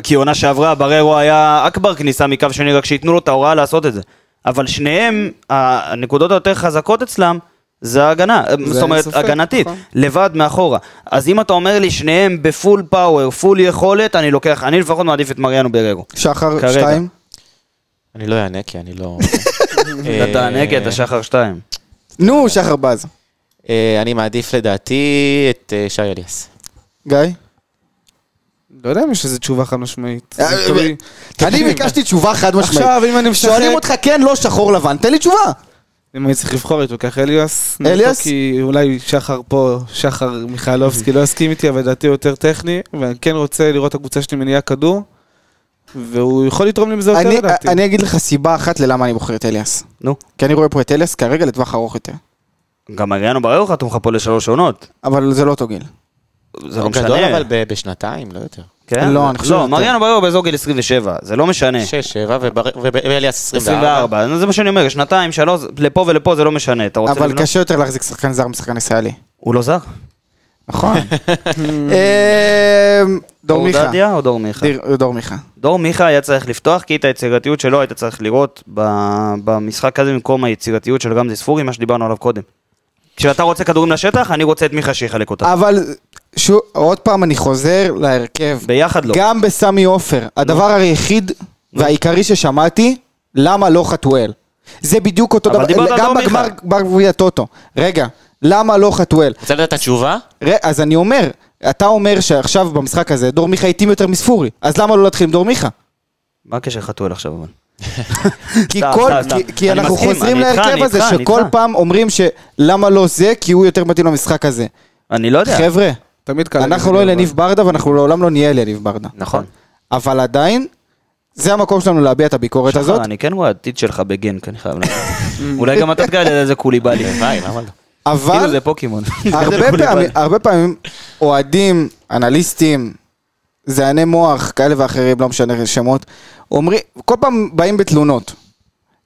Speaker 1: כי עונה שעברה, בררו היה אכבר כניסה מקו שני, רק שייתנו לו את ההוראה לעשות את זה. אבל שניהם, הנקודות היותר חזקות אצלם, זה הגנה, זאת אומרת,
Speaker 5: ספק,
Speaker 1: הגנתית,
Speaker 5: נכון.
Speaker 1: לבד מאחורה. אז אם אתה אומר לי שניהם בפול פאוור, פול יכולת, אני לוקח, אני לפחות מעדיף את מריאנו בררו.
Speaker 3: שחר
Speaker 1: כרגע.
Speaker 3: שתיים?
Speaker 2: אני לא אענה כי אני לא...
Speaker 1: אתה תענה כי אתה שחר שתיים.
Speaker 3: נו, שחר בז.
Speaker 2: אה, אני מעדיף לדעתי את אה, שי אליאס.
Speaker 3: גיא?
Speaker 5: לא יודע אם יש איזו תשובה חד משמעית. זה
Speaker 3: אה,
Speaker 5: תלוי.
Speaker 3: אני ביקשתי תשובה חד משמעית.
Speaker 5: עכשיו, אם אני משחק...
Speaker 3: שואלים אותך כן, לא, שחור לבן, תן לי תשובה.
Speaker 5: אם הייתי צריך לבחור הייתי לוקח אליאס.
Speaker 3: אליאס?
Speaker 5: כי אולי שחר פה, שחר מיכאלובסקי לא יסכים איתי, אבל לדעתי הוא יותר טכני, ואני כן רוצה לראות את הקבוצה שלי מניעה כדור, והוא יכול לתרום לי בזה יותר
Speaker 3: אני-
Speaker 5: לדעתי.
Speaker 3: אני אגיד לך סיבה אחת ללמה אני בוחר את אליאס.
Speaker 1: נו,
Speaker 3: כי אני רואה פה את אליאס כרגע לטווח ארוך יותר.
Speaker 1: גם מריאנו בררו חתום לך פה לשלוש עונות.
Speaker 3: אבל זה לא אותו גיל.
Speaker 1: זה
Speaker 3: אוקיי,
Speaker 1: לא משנה.
Speaker 2: גדול אבל ב- בשנתיים, לא יותר.
Speaker 1: כן?
Speaker 3: לא, אני חושב
Speaker 1: לא,
Speaker 3: יותר.
Speaker 1: מריאנו בררו באזור גיל 27, זה לא משנה.
Speaker 2: שש, שבע, ובר- וב- ואליאס 24.
Speaker 1: 24, נו, זה מה שאני אומר, שנתיים, שלוש, לפה ולפה זה לא משנה, אתה רוצה
Speaker 3: אבל
Speaker 1: לבנות?
Speaker 3: קשה יותר להחזיק שחקן זר משחקן ישראלי.
Speaker 1: הוא לא זר?
Speaker 3: נכון. אמ, דור
Speaker 1: אור
Speaker 3: מיכה.
Speaker 1: דדיה או דור מיכה?
Speaker 3: דיר- דור מיכה.
Speaker 1: דור מיכה היה צריך לפתוח, כי את היצירתיות שלו היית צריך לראות ב- במשחק הזה במקום היצירתיות של גמזי ספורי, מה שדיברנו עליו קודם. כשאתה רוצה כדורים לשטח, אני רוצה את מיכה שיחלק אותה.
Speaker 3: אבל שו- עוד פעם אני חוזר להרכב.
Speaker 1: ביחד לא.
Speaker 3: גם בסמי עופר, הדבר היחיד והעיקרי ששמעתי, למה לא חתואל? זה בדיוק אותו
Speaker 1: אבל
Speaker 3: דבר,
Speaker 1: דיברת על
Speaker 3: גם
Speaker 1: דור
Speaker 3: בגמר
Speaker 1: מיכה.
Speaker 3: גמר גביע טוטו. רגע, למה לא חתואל?
Speaker 2: רוצה לדעת את התשובה?
Speaker 3: ר- אז אני אומר, אתה אומר שעכשיו במשחק הזה דור מיכה איטי יותר מספורי, אז למה לא להתחיל עם דור מיכה?
Speaker 1: מה הקשר חתול עכשיו אבל?
Speaker 3: כי,
Speaker 1: סתם,
Speaker 3: כל,
Speaker 1: סתם,
Speaker 3: כי,
Speaker 1: סתם.
Speaker 3: כי
Speaker 1: אני
Speaker 3: אנחנו
Speaker 1: מסכים,
Speaker 3: חוזרים
Speaker 1: אני איתך,
Speaker 3: להרכב
Speaker 1: אני
Speaker 3: הזה,
Speaker 1: איתך, אני
Speaker 3: שכל
Speaker 1: איתך.
Speaker 3: פעם אומרים שלמה לא זה, כי הוא יותר מתאים למשחק הזה.
Speaker 1: אני לא יודע.
Speaker 3: חבר'ה,
Speaker 5: תמיד קל.
Speaker 3: אנחנו
Speaker 5: להגיד
Speaker 3: לא
Speaker 5: לי,
Speaker 3: אלניב ברדה ואנחנו לעולם לא נהיה אלניב ברדה.
Speaker 1: נכון.
Speaker 3: אבל עדיין, זה המקום שלנו להביע את הביקורת הזאת.
Speaker 1: שחר, אני כן רואה עתיד שלך בגנק, אני חייב להגיד. אולי גם אתה תגלה איזה קוליבאלי.
Speaker 2: וואי, למה לא?
Speaker 1: כאילו
Speaker 3: אבל
Speaker 1: זה לא פוקימון.
Speaker 3: הרבה פעמים, הרבה פעמים אוהדים, אנליסטים, זעני מוח, כאלה ואחרים, לא משנה שמות, אומרים, כל פעם באים בתלונות.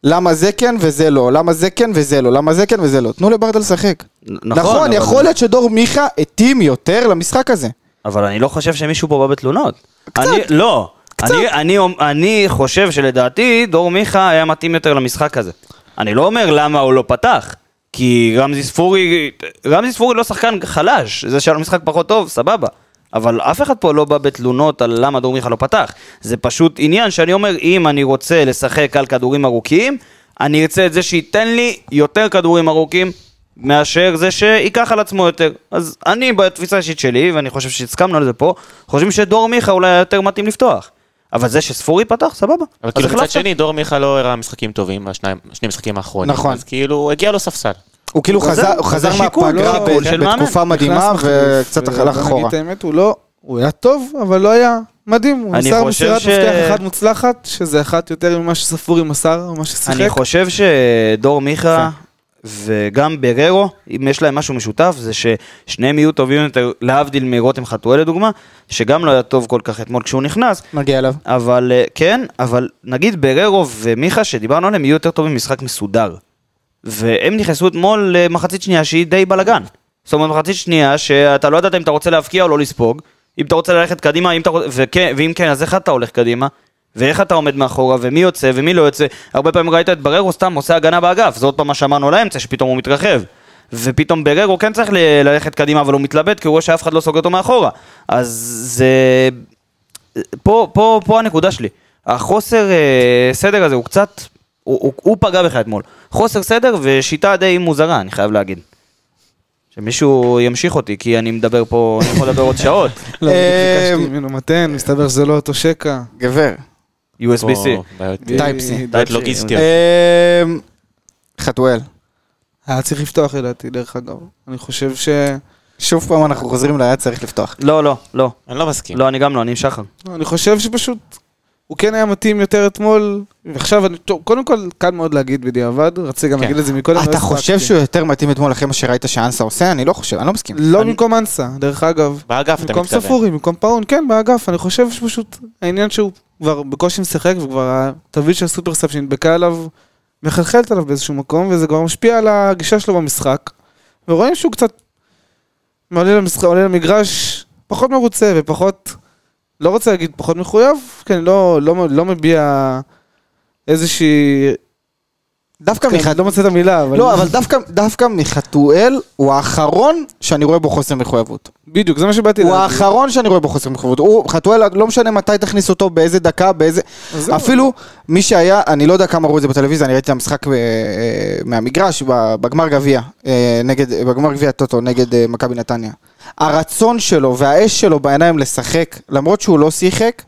Speaker 3: למה זה כן וזה לא, למה זה כן וזה לא, למה זה כן וזה לא. תנו לברדה לשחק.
Speaker 1: נכון,
Speaker 3: נכון,
Speaker 1: אבל-
Speaker 3: יכול להיות שדור מיכה התאים יותר למשחק הזה.
Speaker 1: אבל אני לא חושב שמישהו פה בא בתלונות. קצת. אני, לא. קצת. אני, אני, אומ- אני חושב שלדעתי דור מיכה היה מתאים יותר למשחק הזה. אני לא אומר למה הוא לא פתח. כי רמזי ספורי, רמזי ספורי לא שחקן חלש, זה שהיה לו משחק פחות טוב, סבבה. אבל אף אחד פה לא בא בתלונות על למה דור מיכה לא פתח. זה פשוט עניין שאני אומר, אם אני רוצה לשחק על כדורים ארוכים, אני ארצה את זה שייתן לי יותר כדורים ארוכים מאשר זה שייקח על עצמו יותר. אז אני, בתפיסה האישית שלי, ואני חושב שהסכמנו על זה פה, חושבים שדור מיכה אולי היה יותר מתאים לפתוח. אבל זה שספורי פתח, סבבה.
Speaker 2: אבל
Speaker 1: אז
Speaker 2: כאילו מצד
Speaker 1: החלפת.
Speaker 2: שני, דור מיכה לא הראה משחקים טובים בשני המשחקים האחרונים.
Speaker 3: נכון.
Speaker 2: אז כאילו, הגיע לו ספסל.
Speaker 3: הוא כאילו
Speaker 1: הוא
Speaker 3: חזר,
Speaker 1: חזר-
Speaker 3: הוא חזר
Speaker 1: זה שיקול,
Speaker 3: מהפגרה
Speaker 1: לא-
Speaker 3: ב-
Speaker 1: שיקול של מאמן.
Speaker 3: בתקופה מדהימה
Speaker 5: נכנס מחליף,
Speaker 3: וקצת
Speaker 5: ובוא
Speaker 1: אה,
Speaker 3: הלך אחורה.
Speaker 5: נגיד את האמת, הוא לא, הוא היה טוב, אבל לא היה מדהים. הוא
Speaker 1: אני
Speaker 5: מסר
Speaker 1: חושב
Speaker 5: מסירת
Speaker 1: ש-
Speaker 5: מפתח אחת מוצלחת, שזה אחת יותר ממה שספורי מסר, ממה
Speaker 1: אני
Speaker 5: ששיחק.
Speaker 1: חושב שדור מיכה
Speaker 2: כן.
Speaker 1: וגם בררו, אם יש להם משהו משותף, זה ששניהם יהיו טובים יותר, להבדיל מרותם חתואל לדוגמה, שגם לא היה טוב כל כך אתמול כשהוא נכנס,
Speaker 3: מגיע אליו.
Speaker 1: אבל אה, כן, אבל נגיד בררו ומיכה שדיברנו עליהם יהיו יותר טובים במשחק מסודר. והם נכנסו אתמול למחצית שנייה שהיא די בלאגן. זאת אומרת מחצית שנייה שאתה לא ידעת אם אתה רוצה להבקיע או לא לספוג, אם אתה רוצה ללכת קדימה, אם אתה רוצ... וכן, ואם כן אז איך אתה הולך קדימה, ואיך אתה עומד מאחורה, ומי יוצא ומי לא יוצא. הרבה פעמים ראית את בררו סתם עושה הגנה באגף, זה עוד פעם מה שאמרנו על האמצע שפתאום הוא מתרחב. ופתאום בררו כן צריך ל- ללכת קדימה אבל הוא מתלבט כי הוא רואה שאף אחד לא סוגר אותו מאחורה. אז זה... פה, פה, פה הנקודה שלי. החוסר אה, סדר הזה הוא קצת, הוא, הוא, הוא פגע בך אתמול. חוסר סדר ושיטה די מוזרה, אני חייב להגיד. שמישהו ימשיך אותי, כי אני מדבר פה, אני יכול לדבר עוד שעות.
Speaker 5: לא,
Speaker 3: אה,
Speaker 5: בדיוק ביקשתי ממנו מתן, מסתבר שזה לא אותו שקע.
Speaker 3: גבר.
Speaker 1: USB-C.
Speaker 2: פה בעיות-
Speaker 3: טייפ C.
Speaker 2: בעיות לוגיסטיות.
Speaker 1: אה,
Speaker 3: אמ,
Speaker 1: כן.
Speaker 3: חתואל.
Speaker 5: היה צריך לפתוח לדעתי, דרך אגב. אני חושב ש...
Speaker 3: שוב פעם אנחנו חוזרים להיה צריך לפתוח.
Speaker 1: לא, לא, לא.
Speaker 2: אני לא מסכים.
Speaker 1: לא, אני גם לא, אני עם שחר.
Speaker 5: לא, אני חושב שפשוט הוא כן היה מתאים יותר אתמול, ועכשיו, אני- טוב, קודם כל, קל מאוד להגיד בדיעבד, רציתי גם
Speaker 2: כן.
Speaker 5: להגיד את זה מקודם. לא
Speaker 3: אתה חושב
Speaker 5: הספקתי.
Speaker 3: שהוא יותר מתאים אתמול אחרי מה שראית שאנסה עושה? אני לא חושב, אני לא מסכים.
Speaker 5: לא במקום אנסה, דרך אגב.
Speaker 2: באגף אתה
Speaker 5: במקום
Speaker 2: מתכוון.
Speaker 5: ספורי, במקום פאון, כן, באגף. אני חושב שפשוט העניין שהוא כבר בקושי משחק, וכבר התווית של הסופרסאפ שנדבקה עליו, מחלחלת עליו באיזשהו מקום, וזה כבר משפיע על הגישה שלו במשחק. ורואים שהוא קצת עולה, למשחק, עולה למגרש פחות מרוצה ופחות, לא רוצה להגיד פחות מחויב, כן, לא, לא, לא מביע איזושהי...
Speaker 3: דווקא
Speaker 5: כן,
Speaker 3: מחת...
Speaker 5: לא מוצא את המילה, אבל...
Speaker 3: לא, אבל דווקא- דווקא מחתואל הוא האחרון שאני רואה בו חוסר מחויבות.
Speaker 5: בדיוק, זה מה שבאתי
Speaker 3: הוא האחרון שאני רואה בו חוסר מחויבות. הוא, חתואל, לא משנה מתי תכניס אותו, באיזה דקה, באיזה...
Speaker 5: אז זהו.
Speaker 3: אפילו מי שהיה, אני לא יודע כמה ראו את זה בטלוויזיה, אני ראיתי את המשחק אה, אה, מהמגרש, ב- בגמר גביע, אה, נגד, בגמר גביע טוטו, נגד אה, מכבי נתניה. הרצון שלו והאש שלו בעיניים לשחק, למרות שהוא לא שיחק,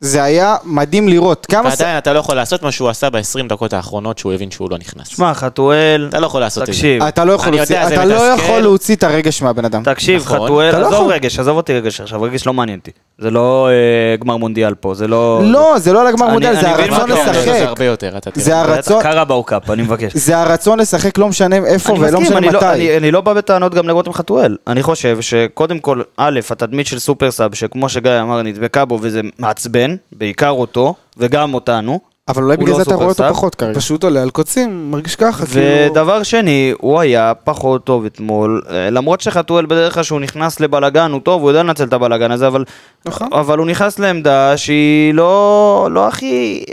Speaker 3: זה היה מדהים לראות. כמה... ש-
Speaker 2: ועדיין אתה לא יכול לעשות מה שהוא עשה ב-20 דקות האחרונות שהוא הבין שהוא לא נכנס.
Speaker 1: שמע, חתואל,
Speaker 2: אתה לא יכול לעשות את זה.
Speaker 1: תקשיב,
Speaker 3: אתה לא יכול
Speaker 2: אני
Speaker 3: להוציא-
Speaker 2: יודע, זה
Speaker 3: אתה לא
Speaker 2: מתסכל.
Speaker 3: יכול להוציא את הרגש מהבן אדם.
Speaker 1: תקשיב,
Speaker 2: נכון.
Speaker 1: חתואל,
Speaker 3: אתה לא
Speaker 1: עזוב
Speaker 3: יכול.
Speaker 1: רגש, עזוב אותי רגש עכשיו, רגש לא מעניין אותי. זה לא אה, גמר מונדיאל פה, זה לא...
Speaker 3: לא, זה לא על הגמר
Speaker 1: אני-
Speaker 3: מודל,
Speaker 1: אני
Speaker 3: זה
Speaker 1: מבין מה
Speaker 3: הרצון
Speaker 1: אתה אומר,
Speaker 2: זה
Speaker 3: לשחק.
Speaker 2: הרבה יותר, אתה
Speaker 3: זה
Speaker 2: תראה.
Speaker 3: הרצון...
Speaker 1: קראבאו קאפ, אני מבקש.
Speaker 3: זה הרצון לשחק לא משנה איפה
Speaker 1: אני
Speaker 3: ולא
Speaker 1: מסכים,
Speaker 3: משנה
Speaker 1: אני לא-
Speaker 3: מתי.
Speaker 1: אני- אני לא בא בטענות גם לרותם חתואל. אני חושב שקודם כל, א', התדמית של סופר סאב, שכמו שגיא אמר, נדבקה בו וזה מעצבן, בעיקר אותו, וגם אותנו.
Speaker 3: אבל אולי
Speaker 1: הוא
Speaker 3: בגלל
Speaker 1: לא
Speaker 3: זה אתה רואה אותו
Speaker 1: סופרסאב.
Speaker 3: פחות כרגע.
Speaker 5: פשוט עולה על קוצים, מרגיש ככה, כאילו...
Speaker 1: ודבר שני, הוא היה פחות טוב אתמול, אה, למרות שחתואל בדרך כלל שהוא נכנס לבלגן, הוא טוב, הוא יודע לנצל את הבלגן הזה, אבל,
Speaker 5: נכון.
Speaker 1: אבל הוא נכנס לעמדה שהיא לא, לא הכי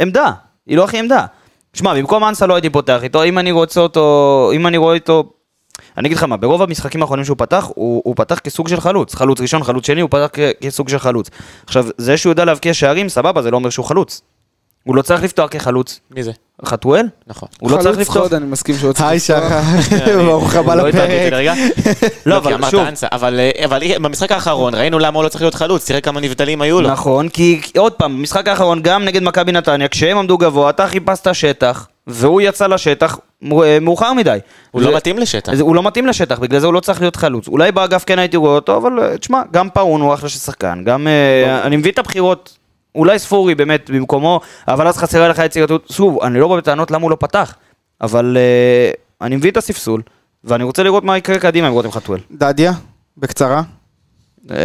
Speaker 1: עמדה, היא לא הכי עמדה. שמע, במקום אנסה לא הייתי פותח איתו, אם אני רוצה אותו, אם אני רואה איתו, אני אגיד לך מה, ברוב המשחקים האחרונים שהוא פתח, הוא, הוא פתח כסוג של חלוץ, חלוץ ראשון, חלוץ שני, הוא פתח כ- כסוג של חלוץ. עכשיו, זה שהוא יודע להבקיע שערים, סבבה, זה לא אומר שהוא חלוץ. הוא לא צריך לפתוח כחלוץ.
Speaker 2: מי זה?
Speaker 1: חתואל?
Speaker 2: נכון.
Speaker 1: הוא לא צריך
Speaker 5: חלוץ
Speaker 1: לפתוח.
Speaker 5: חוד, אני מסכים שהוא לא צריך
Speaker 3: היי
Speaker 5: לפתוח.
Speaker 3: שחר, ברוך הבא
Speaker 2: לא התרגלתי
Speaker 3: לפרק.
Speaker 2: לרגע.
Speaker 1: לא,
Speaker 2: כי
Speaker 1: אבל
Speaker 2: אמרת
Speaker 1: שוב.
Speaker 2: אנסה, אבל אה, אבל אה, במשחק האחרון ראינו למה הוא לא צריך להיות חלוץ, תראה כמה נבדלים היו לו.
Speaker 1: נכון, כי כי עוד פעם, במשחק האחרון, גם נגד מכבי נתניה, כשהם עמדו גבוה, אתה חיפשת שטח, והוא יצא לשטח מ- אה, מאוחר מדי.
Speaker 2: הוא
Speaker 1: זה-
Speaker 2: לא מתאים לשטח.
Speaker 1: אז הוא לא מתאים לשטח, בגלל זה הוא לא צריך להיות חלוץ. אולי באגף כן הייתי רואה אותו, אבל אה, תשמע, גם פאון הוא אחלה של שחקן, גם... אה,
Speaker 2: לא.
Speaker 1: אני מבין את הבחירות, אולי ספורי באמת במקומו, אבל אז חסרה לך יצירתיות. שוב, אני לא בא בטענות למה הוא לא פתח, אבל אה, אני מבין את הספסול, ואני רוצה לראות מה יקרה קדימה עם רותם חתואל.
Speaker 3: דדיה, בקצרה.
Speaker 1: אה,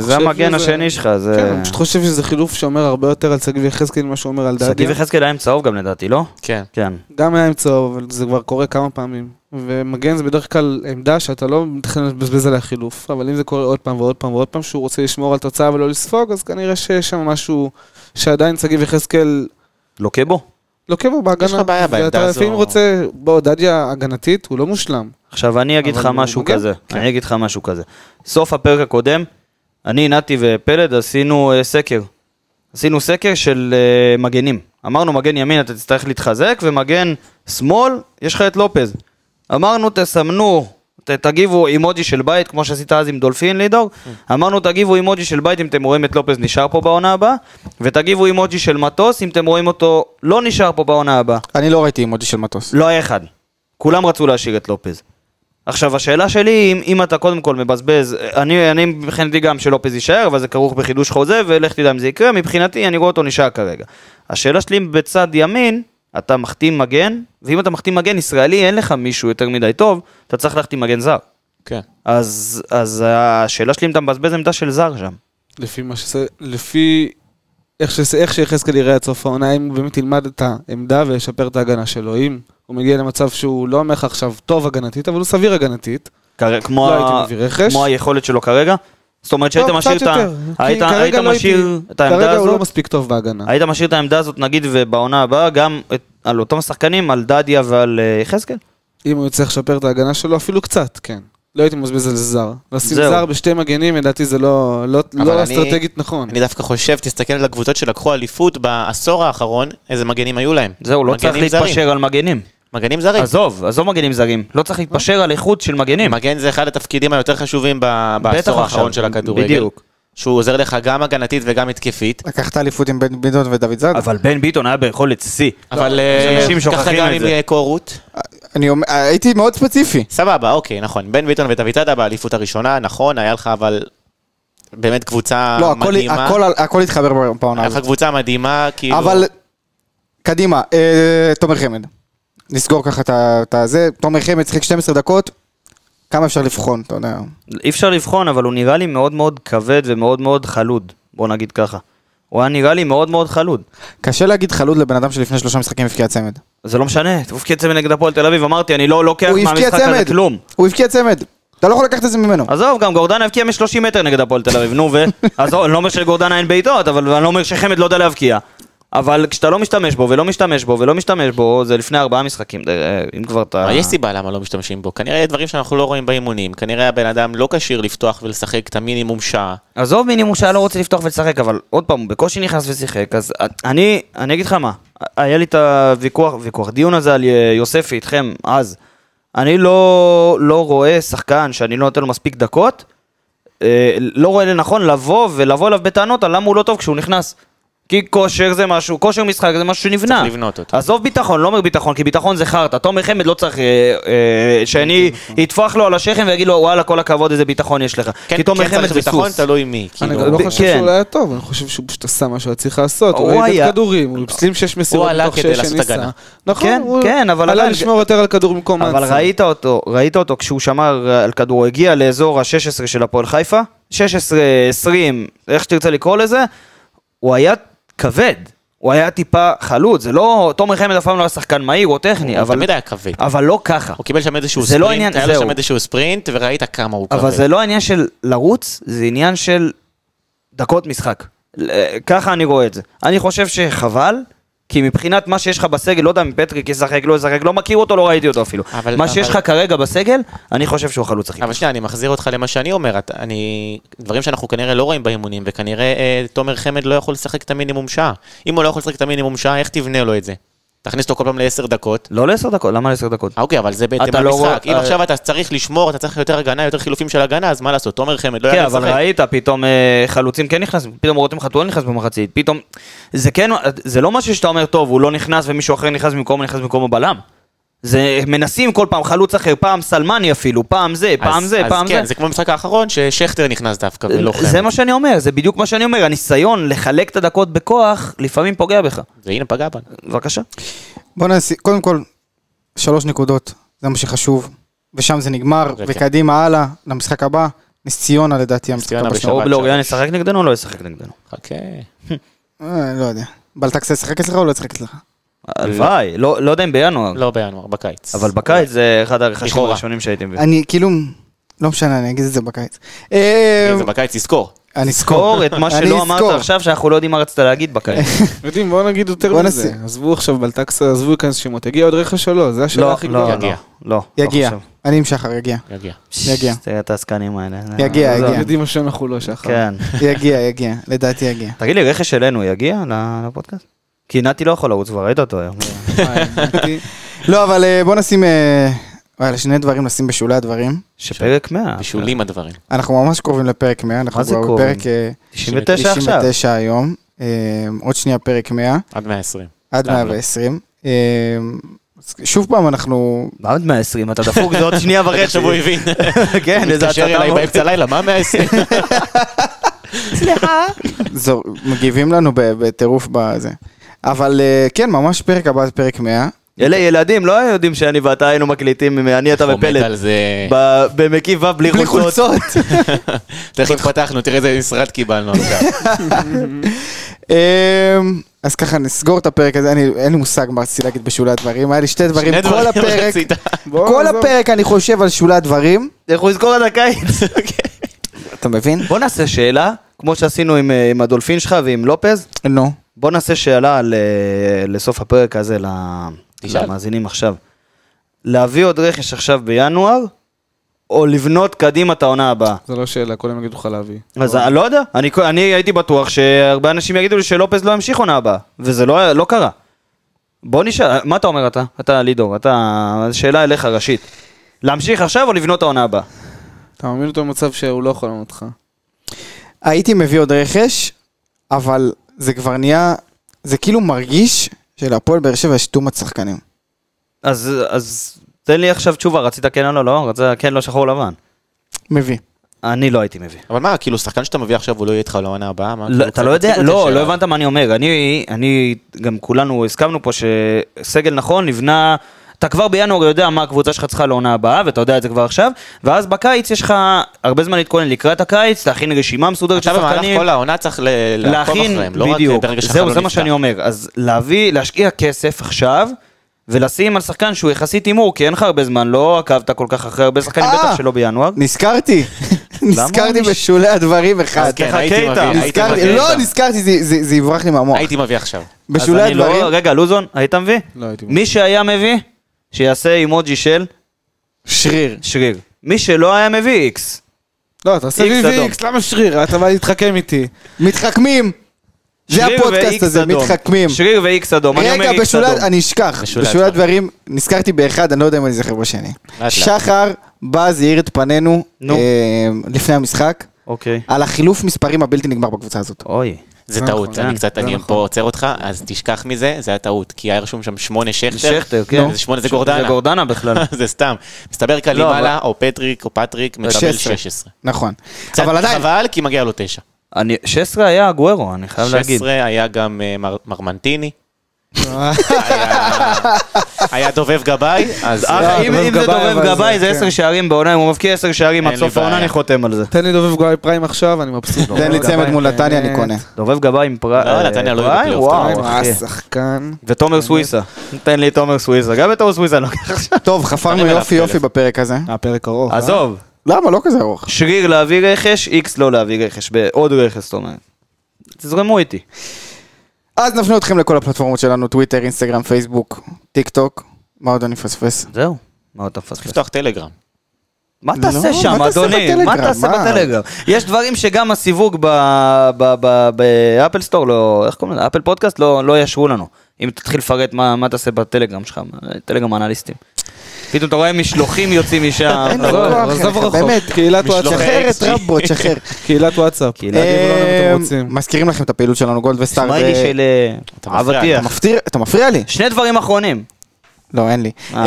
Speaker 1: זה
Speaker 5: חושב
Speaker 1: המגן
Speaker 5: שזה-
Speaker 1: השני שלך, זה...
Speaker 5: כן, אני פשוט חושב שזה חילוף שאומר הרבה יותר על שגיב יחזקאל ממה שאומר על
Speaker 1: שגיב
Speaker 5: דדיה.
Speaker 1: יחזקאל היה עם צהוב גם לדעתי, לא?
Speaker 2: כן.
Speaker 1: כן.
Speaker 5: גם היה עם צהוב, אבל זה כבר קורה כמה פעמים. ומגן זה בדרך כלל עמדה שאתה לא מתכנן לבזבז עליה חילוף, אבל אם זה קורה עוד פעם ועוד פעם ועוד פעם, שהוא רוצה לשמור על תוצאה ולא לספוג, אז כנראה שיש שם משהו שעדיין שגיב יחזקאל
Speaker 1: לוקה בו.
Speaker 5: לוקה בו בהגנה.
Speaker 2: יש לך בעיה בעמדה
Speaker 5: ואתה
Speaker 2: הזו.
Speaker 5: לפעמים רוצה, בוא, דדיה הגנתית, הוא לא מושלם.
Speaker 1: עכשיו אני אגיד
Speaker 5: אבל
Speaker 1: לך
Speaker 5: הוא כן.
Speaker 1: משהו
Speaker 5: מגן?
Speaker 1: כזה, אני אגיד לך משהו כזה. סוף הפרק הקודם, אני, נתי ופלד עשינו אה, סקר. עשינו סקר של אה, מגנים. אמרנו מגן ימין אתה תצטרך להתחזק, ומגן שמאל יש לך את לופז. אמרנו תסמנו, ת, תגיבו אימוג'י של בית, כמו שעשית אז עם דולפין לידור.
Speaker 5: כן.
Speaker 1: אמרנו תגיבו אימוג'י של בית אם אתם רואים את לופז נשאר פה בעונה הבאה, ותגיבו אימוג'י של מטוס אם אתם רואים אותו לא נשאר פה בעונה הבאה.
Speaker 3: אני לא ראיתי אימוג'י של מטוס.
Speaker 1: לא היה אחד. כולם רצו להשאיר את לופז. עכשיו, השאלה שלי היא, אם, אם אתה קודם כל מבזבז, אני, אני מבחינתי גם שלופז יישאר, אבל זה כרוך בחידוש חוזה, ולך תדע אם זה יקרה, מבחינתי אני רואה אותו נשאר כרגע. השאלה שלי אם בצד ימין, אתה מחתים מגן, ואם אתה מחתים מגן ישראלי, אין לך מישהו יותר מדי טוב, אתה צריך להחתים מגן זר.
Speaker 2: כן.
Speaker 1: אז, אז השאלה שלי אם אתה מבזבז עמדה של זר שם.
Speaker 5: לפי מה שזה, לפי איך שזה- איך שיחזקאל יראה עד סוף העונה, אם הוא באמת ילמד את העמדה וישפר את ההגנה שלו. אם הוא מגיע למצב שהוא לא אומר לך עכשיו טוב הגנתית, אבל הוא סביר הגנתית.
Speaker 1: כר- כמו,
Speaker 5: לא
Speaker 1: ה-
Speaker 5: הייתי מביא רכש.
Speaker 1: כמו היכולת שלו כרגע? זאת אומרת שהיית
Speaker 5: טוב,
Speaker 1: משאיר
Speaker 5: לא, קצת
Speaker 1: את ה...
Speaker 5: יותר, כי
Speaker 1: היית,
Speaker 5: כרגע
Speaker 1: היית
Speaker 5: לא
Speaker 1: משאיר
Speaker 5: הייתי-
Speaker 1: את העמדה
Speaker 5: כרגע הוא לא
Speaker 1: הזאת?
Speaker 5: מספיק טוב בהגנה.
Speaker 1: היית משאיר את העמדה הזאת נגיד ובעונה הבאה גם את, על אותם שחקנים, על דדיה ועל אה, יחזקאל?
Speaker 5: אם הוא יצטרך לשפר את ההגנה שלו, אפילו קצת, כן. לא הייתי מבזבז על זר. לשים
Speaker 1: זהו.
Speaker 5: זר בשתי מגנים, לדעתי זה לא, לא,
Speaker 2: אבל
Speaker 5: לא
Speaker 2: אני-
Speaker 5: אסטרטגית נכון.
Speaker 2: אני דווקא חושב, תסתכל על הקבוצות שלקחו אליפות בעשור האחרון, איזה מגנים היו להם.
Speaker 1: זהו, לא צריך
Speaker 2: מגנים זרים.
Speaker 1: להתפשר על מגנים.
Speaker 2: מגנים זרים.
Speaker 1: עזוב, עזוב מגנים זרים. לא צריך להתפשר על איכות של מגנים.
Speaker 2: מגן זה אחד התפקידים היותר חשובים ב- בעשור האחרון
Speaker 1: עכשיו,
Speaker 2: של הכדורגל.
Speaker 1: בדיוק.
Speaker 2: שהוא עוזר לך גם הגנתית וגם התקפית.
Speaker 3: לקחת אליפות עם בן ביטון ודוד זאדה.
Speaker 1: אבל בן ביטון היה ביכולת שיא.
Speaker 2: אבל
Speaker 1: לא, אז אנשים
Speaker 2: אה, ככה
Speaker 1: שוכחים
Speaker 2: גם
Speaker 1: את
Speaker 2: עם
Speaker 1: זה.
Speaker 2: אה, קורות.
Speaker 3: אני אומר, הייתי מאוד ספציפי.
Speaker 2: סבבה, אוקיי, נכון. בן ביטון ודויטדה באליפות הראשונה, נכון, היה לך אבל באמת קבוצה
Speaker 3: לא, הכל-
Speaker 2: אה, מדהימה.
Speaker 3: הכל- הכל התחבר בעונה
Speaker 2: היה לך
Speaker 3: הזאת.
Speaker 2: קבוצה מדהימה, כאילו...
Speaker 3: אבל, קדימה, אה, תומר חמד. נסגור ככה את ה- את הזה. תומר חמד שיחק 12 דקות, כמה אפשר לבחון, אתה יודע.
Speaker 1: אי אפשר לבחון, אבל הוא נראה לי מאוד מאוד כבד ומאוד מאוד חלוד. בוא נגיד ככה. הוא היה נראה לי מאוד מאוד חלוד.
Speaker 3: קשה להגיד חלוד לבן אדם שלפני שלושה משחקים הבקיע צמד.
Speaker 1: זה לא משנה, הוא הבקיע צמד נגד הפועל תל אביב, אמרתי, אני לא לוקח
Speaker 3: הוא הבקיע
Speaker 1: מהמשחק הזה
Speaker 3: צמד,
Speaker 1: כלום.
Speaker 3: הוא הבקיע צמד. אתה לא יכול לקחת את זה ממנו.
Speaker 1: עזוב, גם גורדנה הבקיע מ-30 מטר נגד הפועל תל אביב, נו ו... עזוב, אני לא אומר שלגורדנה אין בעיטות, אבל אני לא אומר שחמד לא יודע להבקיע. אבל כשאתה לא משתמש בו, ולא משתמש בו, ולא משתמש בו, זה לפני ארבעה משחקים, אה, אם כבר אתה...
Speaker 2: אבל יש סיבה למה לא משתמשים בו. כנראה דברים שאנחנו לא רואים באימונים. כנראה הבן אדם לא כשיר לפתוח ולשחק את המינימום שעה.
Speaker 1: עזוב מינימום שהיה לא רוצה לפתוח ולשחק, אבל עוד פעם, הוא בקושי נכנס ושיחק, אז אני, אני אגיד לך מה, היה לי את הוויכוח, ויכוח, דיון הזה על אה, יוספי איתכם אז. אני לא, לא רואה שחקן שאני לא נותן לו מספיק דקות, אה, לא רואה לנכון לבוא ולבוא אליו בטענות על למה הוא לא טוב כשהוא נכנס. כי כושר זה משהו, כושר משחק זה משהו שנבנה.
Speaker 2: צריך לבנות אותו.
Speaker 1: עזוב ביטחון, לא אומר ביטחון, כי ביטחון זה חרטא. תומר חמד לא צריך אה, אה, שאני
Speaker 2: נכון,
Speaker 1: יטפח לו על השכם ויגיד לו, וואלה, כל הכבוד, איזה ביטחון יש לך. כי תומר חמד
Speaker 2: כן, צריך
Speaker 1: זה
Speaker 2: ביטחון,
Speaker 1: סוס.
Speaker 2: תלוי מי.
Speaker 5: אני
Speaker 2: כאילו.
Speaker 5: גם לא
Speaker 1: ב-
Speaker 5: חושב
Speaker 1: כן.
Speaker 5: שהוא לא היה טוב, אני חושב שהוא פשוט עשה מה שהוא היה צריך לעשות.
Speaker 1: הוא
Speaker 5: הוא איבד
Speaker 1: היה-
Speaker 5: כדורים, הוא הפסים שש מסירות
Speaker 2: עלה
Speaker 5: מתוך
Speaker 2: כדי
Speaker 5: שש
Speaker 2: לעשות
Speaker 5: שניסה.
Speaker 2: הגנה.
Speaker 5: נכון,
Speaker 1: כן,
Speaker 5: הוא
Speaker 1: כן, אבל
Speaker 5: עלה
Speaker 1: עדיין-
Speaker 5: לשמור יותר על כדור במקום
Speaker 1: אבל
Speaker 5: אנסה.
Speaker 1: ראית אותו, ראית אותו כשהוא שמר על כדור, הוא הגיע לאזור ה-16 של הפועל חיפה, 16, 20, איך שתרצה לקרוא לזה, הוא היה כבד, הוא היה טיפה חלוד, זה לא, תומר חמד אף פעם לא היה שחקן מהיר או טכני,
Speaker 2: הוא
Speaker 1: אבל,
Speaker 2: תמיד היה כבד. אוקיי,
Speaker 1: אבל לא ככה.
Speaker 2: הוא קיבל שם איזשהו
Speaker 1: זה לא
Speaker 2: ספרינט,
Speaker 1: העניין,
Speaker 2: היה לו
Speaker 1: זהו.
Speaker 2: שם איזשהו ספרינט, וראית כמה הוא כבד.
Speaker 1: אבל זה לא עניין של לרוץ, זה עניין של דקות משחק. ל- ככה אני רואה את זה. אני חושב שחבל, כי מבחינת מה שיש לך בסגל, לא יודע אם פטריק ישחק, לא ישחק, לא מכיר אותו, לא ראיתי אותו אפילו.
Speaker 2: אבל-
Speaker 1: מה שיש
Speaker 2: אבל-
Speaker 1: לך כרגע בסגל, אני חושב שהוא החלוץ הכי
Speaker 2: כן. אבל שנייה, אני מחזיר אותך למה שאני אומר, אתה- אני... דברים שאנחנו כנראה לא רואים באימונים, וכנראה אה, תומר חמד לא יכול לשחק את המינימום שעה. אם הוא לא יכול לשחק את המינימום שעה, איך תבנה לו את זה? תכניס אותו כל פעם לעשר דקות.
Speaker 1: לא לעשר דקות, למה לעשר דקות?
Speaker 2: אה, אוקיי, אבל זה בהתאם
Speaker 1: אתה לא רואה-
Speaker 2: למשחק. אם
Speaker 1: אה,
Speaker 2: עכשיו אתה צריך לשמור, אתה צריך יותר הגנה, יותר חילופים של הגנה, אז מה לעשות? תומר חמד לא
Speaker 1: כן,
Speaker 2: ידע
Speaker 1: אבל
Speaker 2: לשחק.
Speaker 1: ראית, פתאום אה, חלוצים כן נכנסים, פתאום רותם חתואל נכנס במחצית, פתאום... זה כן, זה לא משהו שאתה אומר, טוב, הוא לא נכנס ומישהו אחר נכנס במקומו, נכנס במקום הבלם. זה מנסים כל פעם חלוץ אחר, פעם סלמני אפילו, פעם זה, פעם
Speaker 2: אז-
Speaker 1: זה, פעם
Speaker 2: אז כן,
Speaker 1: זה.
Speaker 2: זה כמו במשחק האחרון, ששכטר נכנס דווקא, ולא חמד.
Speaker 1: זה מה שאני אומר, זה בדיוק מה שאני אומר, הניסיון לחלק את הדקות בכוח, לפעמים פוגע בך.
Speaker 2: והנה פגע בנו.
Speaker 1: בבקשה.
Speaker 3: בוא נעשה, קודם כל, שלוש נקודות, זה מה שחשוב, ושם זה נגמר,
Speaker 2: זה כן.
Speaker 3: וקדימה הלאה, למשחק הבא, נס ציונה לדעתי המשחק
Speaker 2: ציונה
Speaker 3: הבא שלנו.
Speaker 2: בשבת.
Speaker 1: או בלוריאן ישחק נגדנו או לא ישחק נגדנו?
Speaker 2: חכה.
Speaker 3: אה, לא יודע. בלטקס ישחק אצלך או לא ישחק אצלך?
Speaker 1: הלוואי, לא לא יודע אם בינואר,
Speaker 2: לא בינואר, בקיץ.
Speaker 1: אבל בקיץ זה אחד הרכשים
Speaker 2: לכאורה.
Speaker 1: הראשונים שהייתי מביא.
Speaker 3: אני כאילו, לא משנה, אני אגיד את זה בקיץ. אה,
Speaker 2: כן,
Speaker 1: כן,
Speaker 2: זה בקיץ, תזכור.
Speaker 3: אני
Speaker 1: זכור את מה
Speaker 3: אני
Speaker 1: שלא אמרת
Speaker 3: אזכור.
Speaker 1: עכשיו, שאנחנו לא יודעים מה רצית להגיד בקיץ.
Speaker 5: יודעים, בואו נגיד יותר
Speaker 3: בוא
Speaker 5: מזה.
Speaker 3: נעשה. עזבו
Speaker 5: עזבו עכשיו בלטקסה, עזבו כאן שמות. יגיע עוד רכש או לא? זה השאלה
Speaker 1: לא,
Speaker 5: הכי
Speaker 1: לא,
Speaker 5: גדולה.
Speaker 1: לא,
Speaker 2: יגיע.
Speaker 1: לא.
Speaker 3: יגיע, אני עם שחר, יגיע.
Speaker 2: יגיע.
Speaker 1: אה,
Speaker 3: יגיע.
Speaker 1: תראה את העסקנים האלה. לא,
Speaker 3: יגיע,
Speaker 1: עזוב.
Speaker 3: יגיע.
Speaker 5: יודעים מה שאנחנו לא שחר.
Speaker 1: כן.
Speaker 3: יגיע, יגיע, לדעתי יגיע.
Speaker 1: תגיד לי, רכש אלינו יגיע ל- לפודקאסט? כי נתי לא יכול לרוץ, כבר ראית אותו היום.
Speaker 3: לא, אבל אה, בוא נשים, אה, וואלה, שני דברים נשים בשולי הדברים.
Speaker 1: שפרק 100.
Speaker 2: בשולים הדברים.
Speaker 3: אנחנו ממש קרובים לפרק 100, אנחנו
Speaker 1: מה זה
Speaker 3: כבר
Speaker 1: קרובים?
Speaker 3: בפרק אה,
Speaker 1: 99 עכשיו.
Speaker 3: 99 היום, אה, עוד שנייה פרק 100,
Speaker 2: עד 120.
Speaker 3: עד
Speaker 2: למה?
Speaker 3: 120. אה, אז שוב פעם, אנחנו...
Speaker 1: מה עוד 120? אתה דפוק, זה עוד שנייה וחצי.
Speaker 2: עכשיו הוא הבין.
Speaker 1: כן, איזה
Speaker 2: מתקשר
Speaker 1: הצתה.
Speaker 2: אליי
Speaker 1: מאוד.
Speaker 2: באמצע הלילה, מה 120?
Speaker 3: זו, מגיבים לנו ב- בטירוף בזה. אבל אה, כן, ממש פרק הבא זה פרק 100.
Speaker 1: אלה ילדים לא יודעים שאני ואתה היינו מקליטים, עם- אני, אתה
Speaker 2: הוא מת
Speaker 1: ופלט.
Speaker 2: על זה.
Speaker 1: ב- במקיף ו' בלי
Speaker 3: בלי
Speaker 1: חולצות.
Speaker 3: חולצות.
Speaker 2: תכף פתחנו, תראה איזה משרד קיבלנו עכשיו.
Speaker 3: אמ, אז ככה נסגור את הפרק הזה, אני, אין לי מושג מה רציתי להגיד בשולי הדברים, היה לי שתי דברים,
Speaker 2: שני
Speaker 3: כל
Speaker 2: דברים
Speaker 3: הפרק,
Speaker 2: רצית.
Speaker 5: בוא,
Speaker 3: כל
Speaker 5: עזוב.
Speaker 3: הפרק אני חושב על שולי הדברים,
Speaker 1: איך הוא יזכור עד הקיץ?
Speaker 3: אתה מבין?
Speaker 1: בוא נעשה שאלה, כמו שעשינו עם, אה, עם הדולפין שלך ועם לופז,
Speaker 3: נו.
Speaker 1: בוא נעשה שאלה ל, לסוף הפרק הזה, ל-
Speaker 2: תשאל.
Speaker 1: למאזינים עכשיו. להביא עוד רכש עכשיו בינואר, או לבנות קדימה את העונה הבאה?
Speaker 5: זה לא שאלה, כולם יגידו לך להביא.
Speaker 1: אז אני לא יודע, אני, אני הייתי בטוח שהרבה אנשים יגידו לי שלופז לא ימשיך עונה הבאה, וזה לא, לא קרה. בוא נשאל, מה אתה אומר אתה? אתה לידור, אתה... שאלה אליך ראשית. להמשיך עכשיו או לבנות העונה הבאה?
Speaker 5: אתה מעמיד אותו במצב שהוא לא יכול לענות לך.
Speaker 3: הייתי מביא עוד רכש, אבל זה כבר נהיה, זה כאילו מרגיש שלהפועל באר שבע יש תומת שחקנים.
Speaker 1: אז, אז תן לי עכשיו תשובה, רצית כן או לא, לא? רצית כן, לא שחור לבן.
Speaker 3: מביא.
Speaker 1: אני לא הייתי מביא.
Speaker 2: אבל מה, כאילו, שחקן שאתה מביא עכשיו, הוא לא יהיה איתך לעונה הבאה? מה,
Speaker 1: לא,
Speaker 2: כאילו,
Speaker 1: אתה
Speaker 2: קצת
Speaker 1: לא יודע,
Speaker 2: מצחיק אותי
Speaker 1: לא,
Speaker 2: השאלה.
Speaker 1: לא הבנת מה אני אומר. אני, אני, גם כולנו הסכמנו פה שסגל נכון נבנה, אתה כבר בינואר יודע מה הקבוצה שלך צריכה לעונה הבאה, ואתה יודע את זה כבר עכשיו, ואז בקיץ יש לך הרבה זמן להתכונן לקראת הקיץ, להכין רשימה מסודרת של
Speaker 2: אתה במהלך
Speaker 1: שחקנים.
Speaker 2: כל העונה צריך ל- לעקוב
Speaker 1: להכין,
Speaker 2: אחריהם, לא רק
Speaker 1: בדיוק,
Speaker 2: ברגע שהחלון
Speaker 1: זהו, זה מה
Speaker 2: נפתח.
Speaker 1: שאני אומר. אז להביא, להשקיע כסף עכשיו, ולשים על שחקן שהוא יחסית הימור, כי אין לך הרבה זמן, לא עקבת כל כך אחרי הרבה שחקנים,
Speaker 3: אה!
Speaker 1: בטח שלא בינואר.
Speaker 3: נזכרתי, נזכרתי
Speaker 1: הוא נש-
Speaker 3: בשולי הדברים אחד.
Speaker 2: אז כן,
Speaker 1: תחכה
Speaker 2: הייתי
Speaker 1: איתם.
Speaker 2: מביא, הייתי
Speaker 3: נזכרתי-
Speaker 2: מביא
Speaker 3: לא,
Speaker 2: איתם.
Speaker 3: נזכרתי, זה- זה זה יברח לי מהמוח.
Speaker 2: הייתי מביא עכשיו.
Speaker 3: בשולי
Speaker 1: אז אני
Speaker 3: הדברים,
Speaker 1: לא... רגע, לוזון, היית מביא?
Speaker 5: לא הייתי מביא.
Speaker 1: מי שהיה מביא, שיעשה אימוג'י של
Speaker 3: שריר.
Speaker 1: שריר. מי שלא היה מביא איקס.
Speaker 5: לא, אתה עושה
Speaker 1: איקס
Speaker 5: לי
Speaker 1: אדום.
Speaker 5: ויקס, למה שריר? אתה בא להתחכם איתי.
Speaker 3: מתחכמים! זה
Speaker 1: שריר
Speaker 3: הפודקאסט
Speaker 1: ואיקס
Speaker 3: הזה,
Speaker 1: אדום.
Speaker 3: מתחכמים.
Speaker 1: שריר ואיקס אדום, אני אומר
Speaker 3: רגע,
Speaker 1: איקס
Speaker 3: בשולי,
Speaker 1: אדום.
Speaker 3: אני אשכח,
Speaker 2: בשולי
Speaker 3: בשולי
Speaker 2: הדברים.
Speaker 3: הדברים, נזכרתי באחד, אני לא יודע אם אני זוכר בשני.
Speaker 2: לאט.
Speaker 3: שחר בא, זהיר את פנינו
Speaker 1: נו.
Speaker 3: אה, לפני המשחק,
Speaker 1: אוקיי.
Speaker 3: על החילוף מספרים הבלתי נגמר בקבוצה הזאת.
Speaker 1: אוי.
Speaker 2: זה
Speaker 5: זה
Speaker 2: טעות,
Speaker 5: נכון,
Speaker 2: אני
Speaker 1: זה
Speaker 2: קצת, אני
Speaker 5: נכון.
Speaker 2: פה עוצר אותך, אז תשכח מזה, זה היה טעות. כי היה רשום שם שמונה שכטר.
Speaker 1: שכטר, כן.
Speaker 2: זה שמונה, זה גורדנה.
Speaker 1: זה גורדנה בכלל.
Speaker 2: זה סתם. מסתבר
Speaker 1: לא,
Speaker 2: קלימאלה, או פטריק, או פטריק, מקבל
Speaker 3: 16.
Speaker 2: 16.
Speaker 3: נכון.
Speaker 2: קצת
Speaker 3: אבל עדיין,
Speaker 2: חבל, כי מגיע לו 9.
Speaker 1: אני- 16 היה הגוארו, אני חייב להגיד.
Speaker 2: 16 היה גם אה, מר- מרמנטיני. היה- היה דובב גבאי, אז...
Speaker 1: אך,
Speaker 3: לא,
Speaker 1: אה, אם
Speaker 3: דובב
Speaker 1: אם זה
Speaker 3: גבאי,
Speaker 1: דובב
Speaker 3: אבל
Speaker 1: גבאי
Speaker 3: זה-
Speaker 1: זה 10
Speaker 3: כן.
Speaker 1: שערים בעונה, אם הוא מבקיע 10 שערים עד
Speaker 2: אין לי
Speaker 1: סוף העונה,
Speaker 2: בעיה.
Speaker 1: אני חותם על זה.
Speaker 5: תן לי דובב גוי פריים עכשיו, אני מבסוט.
Speaker 3: תן לי
Speaker 1: לא, אה,
Speaker 3: צמד מול
Speaker 5: באמת.
Speaker 3: נתניה, אני קונה.
Speaker 1: דובב גבאי עם אה, פריים.
Speaker 2: לא, נתניה לא יהיו בפלייאוף,
Speaker 1: וואו,
Speaker 5: וואו,
Speaker 1: אחי.
Speaker 5: השחקן.
Speaker 1: ותומר סוויסה. תן לי את תומר סוויסה. גם את תומר סוויסה אני לוקח עכשיו.
Speaker 3: טוב, חפרנו
Speaker 2: תרים עליו
Speaker 3: יופי יופי
Speaker 2: טלפון.
Speaker 3: בפרק הזה.
Speaker 5: הפרק ארוך.
Speaker 1: עזוב,
Speaker 3: למה? לא כזה ארוך.
Speaker 1: שריר להביא רכש, איקס לא להביא רכש, עוד רכש זאת אומרת. תזרמו איתי.
Speaker 3: אז נפנה אתכם לכל הפלטפורמות שלנו, טוויטר, אינסטגרם, פייסבוק, טיק טוק. מה עוד אני מפספס?
Speaker 1: זהו. מה אתה מפספס?
Speaker 2: לפתוח טלגרם.
Speaker 1: מה
Speaker 3: לא,
Speaker 1: תעשה
Speaker 3: מה
Speaker 1: שם,
Speaker 3: תעשה
Speaker 1: אדוני? מה
Speaker 3: בטלגרם?
Speaker 1: תעשה
Speaker 3: מה?
Speaker 1: בטלגרם? יש דברים שגם הסיווג ב- ב- ב- באפל סטור, לא, איך קוראים לזה? אפל פודקאסט לא לא יאשרו לנו. אם תתחיל לפרט מה מה תעשה בטלגרם שלך, מה- טלגרם אנליסטים. פתאום אתה רואה משלוחים יוצאים משם.
Speaker 3: אין
Speaker 1: אתה
Speaker 3: לו
Speaker 1: רואה-
Speaker 3: כוח,
Speaker 5: עזוב
Speaker 3: אליך,
Speaker 5: רחוק.
Speaker 3: באמת.
Speaker 5: קהילת
Speaker 2: משלוחי
Speaker 5: וואטסאפ.
Speaker 3: שחרר את
Speaker 2: XG.
Speaker 3: רבו, תשחרר.
Speaker 5: קהילת וואטסאפ. אה,
Speaker 1: קהילת-
Speaker 5: תגידו לנו אם
Speaker 3: אמ,
Speaker 5: אתם לא רוצים.
Speaker 3: מזכירים לכם את הפעילות שלנו, גולד וסטאר.
Speaker 1: סמיילי
Speaker 3: ו-
Speaker 1: של אה,
Speaker 2: אתה מפריע,
Speaker 1: אבטיח.
Speaker 3: אתה מפתיר- אתה מפריע לי.
Speaker 1: שני דברים אחרונים.
Speaker 3: לא, אין לי.
Speaker 1: אה.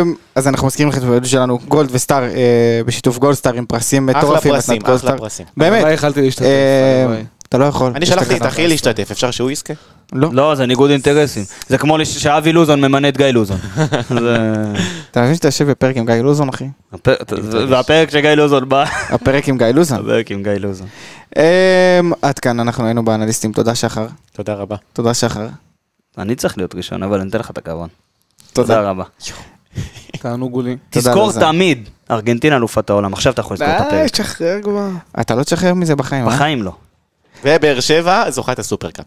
Speaker 3: אמ, אז אנחנו מזכירים לכם את הפעילות שלנו, גולד וסטאר, אה, בשיתוף גולדסטאר עם פרסים מטורפים.
Speaker 2: פרסים,
Speaker 3: מתנת גולדסטאר.
Speaker 2: אחלה פרסים.
Speaker 3: באמת.
Speaker 5: הלוואי לא יכלתי להשתתף, אה,
Speaker 3: אמ,
Speaker 5: הלוואי.
Speaker 3: אתה לא יכול.
Speaker 2: אני
Speaker 3: יש
Speaker 2: שלחתי את
Speaker 3: תקנה.
Speaker 2: אחי להשתתף, אפשר שהוא יזכה?
Speaker 3: לא.
Speaker 1: לא, זה ניגוד אינטרסים. זה כמו לש- שאבי לוזון ממנה את גיא לוזון. זה-
Speaker 3: אתה מבין שאתה יושב בפרק עם גיא לוזון, אחי?
Speaker 1: הפ- והפרק שגיא לוזון בא,
Speaker 3: הפרק עם גיא לוזון.
Speaker 1: הפרק עם גיא לוזון.
Speaker 3: אמ, עד כאן, אנחנו היינו באנליסטים. תודה שחר.
Speaker 2: תודה רבה.
Speaker 3: תודה שחר.
Speaker 1: אני צריך להיות ראשון, אבל אני אתן לך את הכבוד.
Speaker 3: תודה.
Speaker 1: תודה רבה.
Speaker 5: אה, תענוגו לי.
Speaker 3: תודה
Speaker 1: תזכור
Speaker 3: לזה.
Speaker 1: תמיד, ארגנטינה אלופת העולם, עכשיו אתה יכול לזכור את הפרק.
Speaker 5: שחרר כבר.
Speaker 3: אה, אתה לא תשחרר מזה בחיים, אה?
Speaker 1: בחיים לא.
Speaker 2: ובאר שבע זוכה את הסופרקאפ.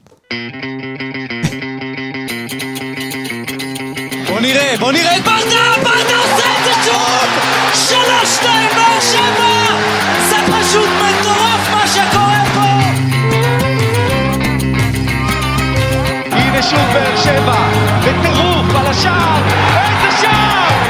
Speaker 6: בוא נראה, בוא נראה את ברדה, ברדה עושה את זה שוב! שלוש, שתיים, באר שבע! זה פשוט מטורף מה שקורה פה!
Speaker 4: הנה שוב באר שבע, בטירוף על השער, איזה שער!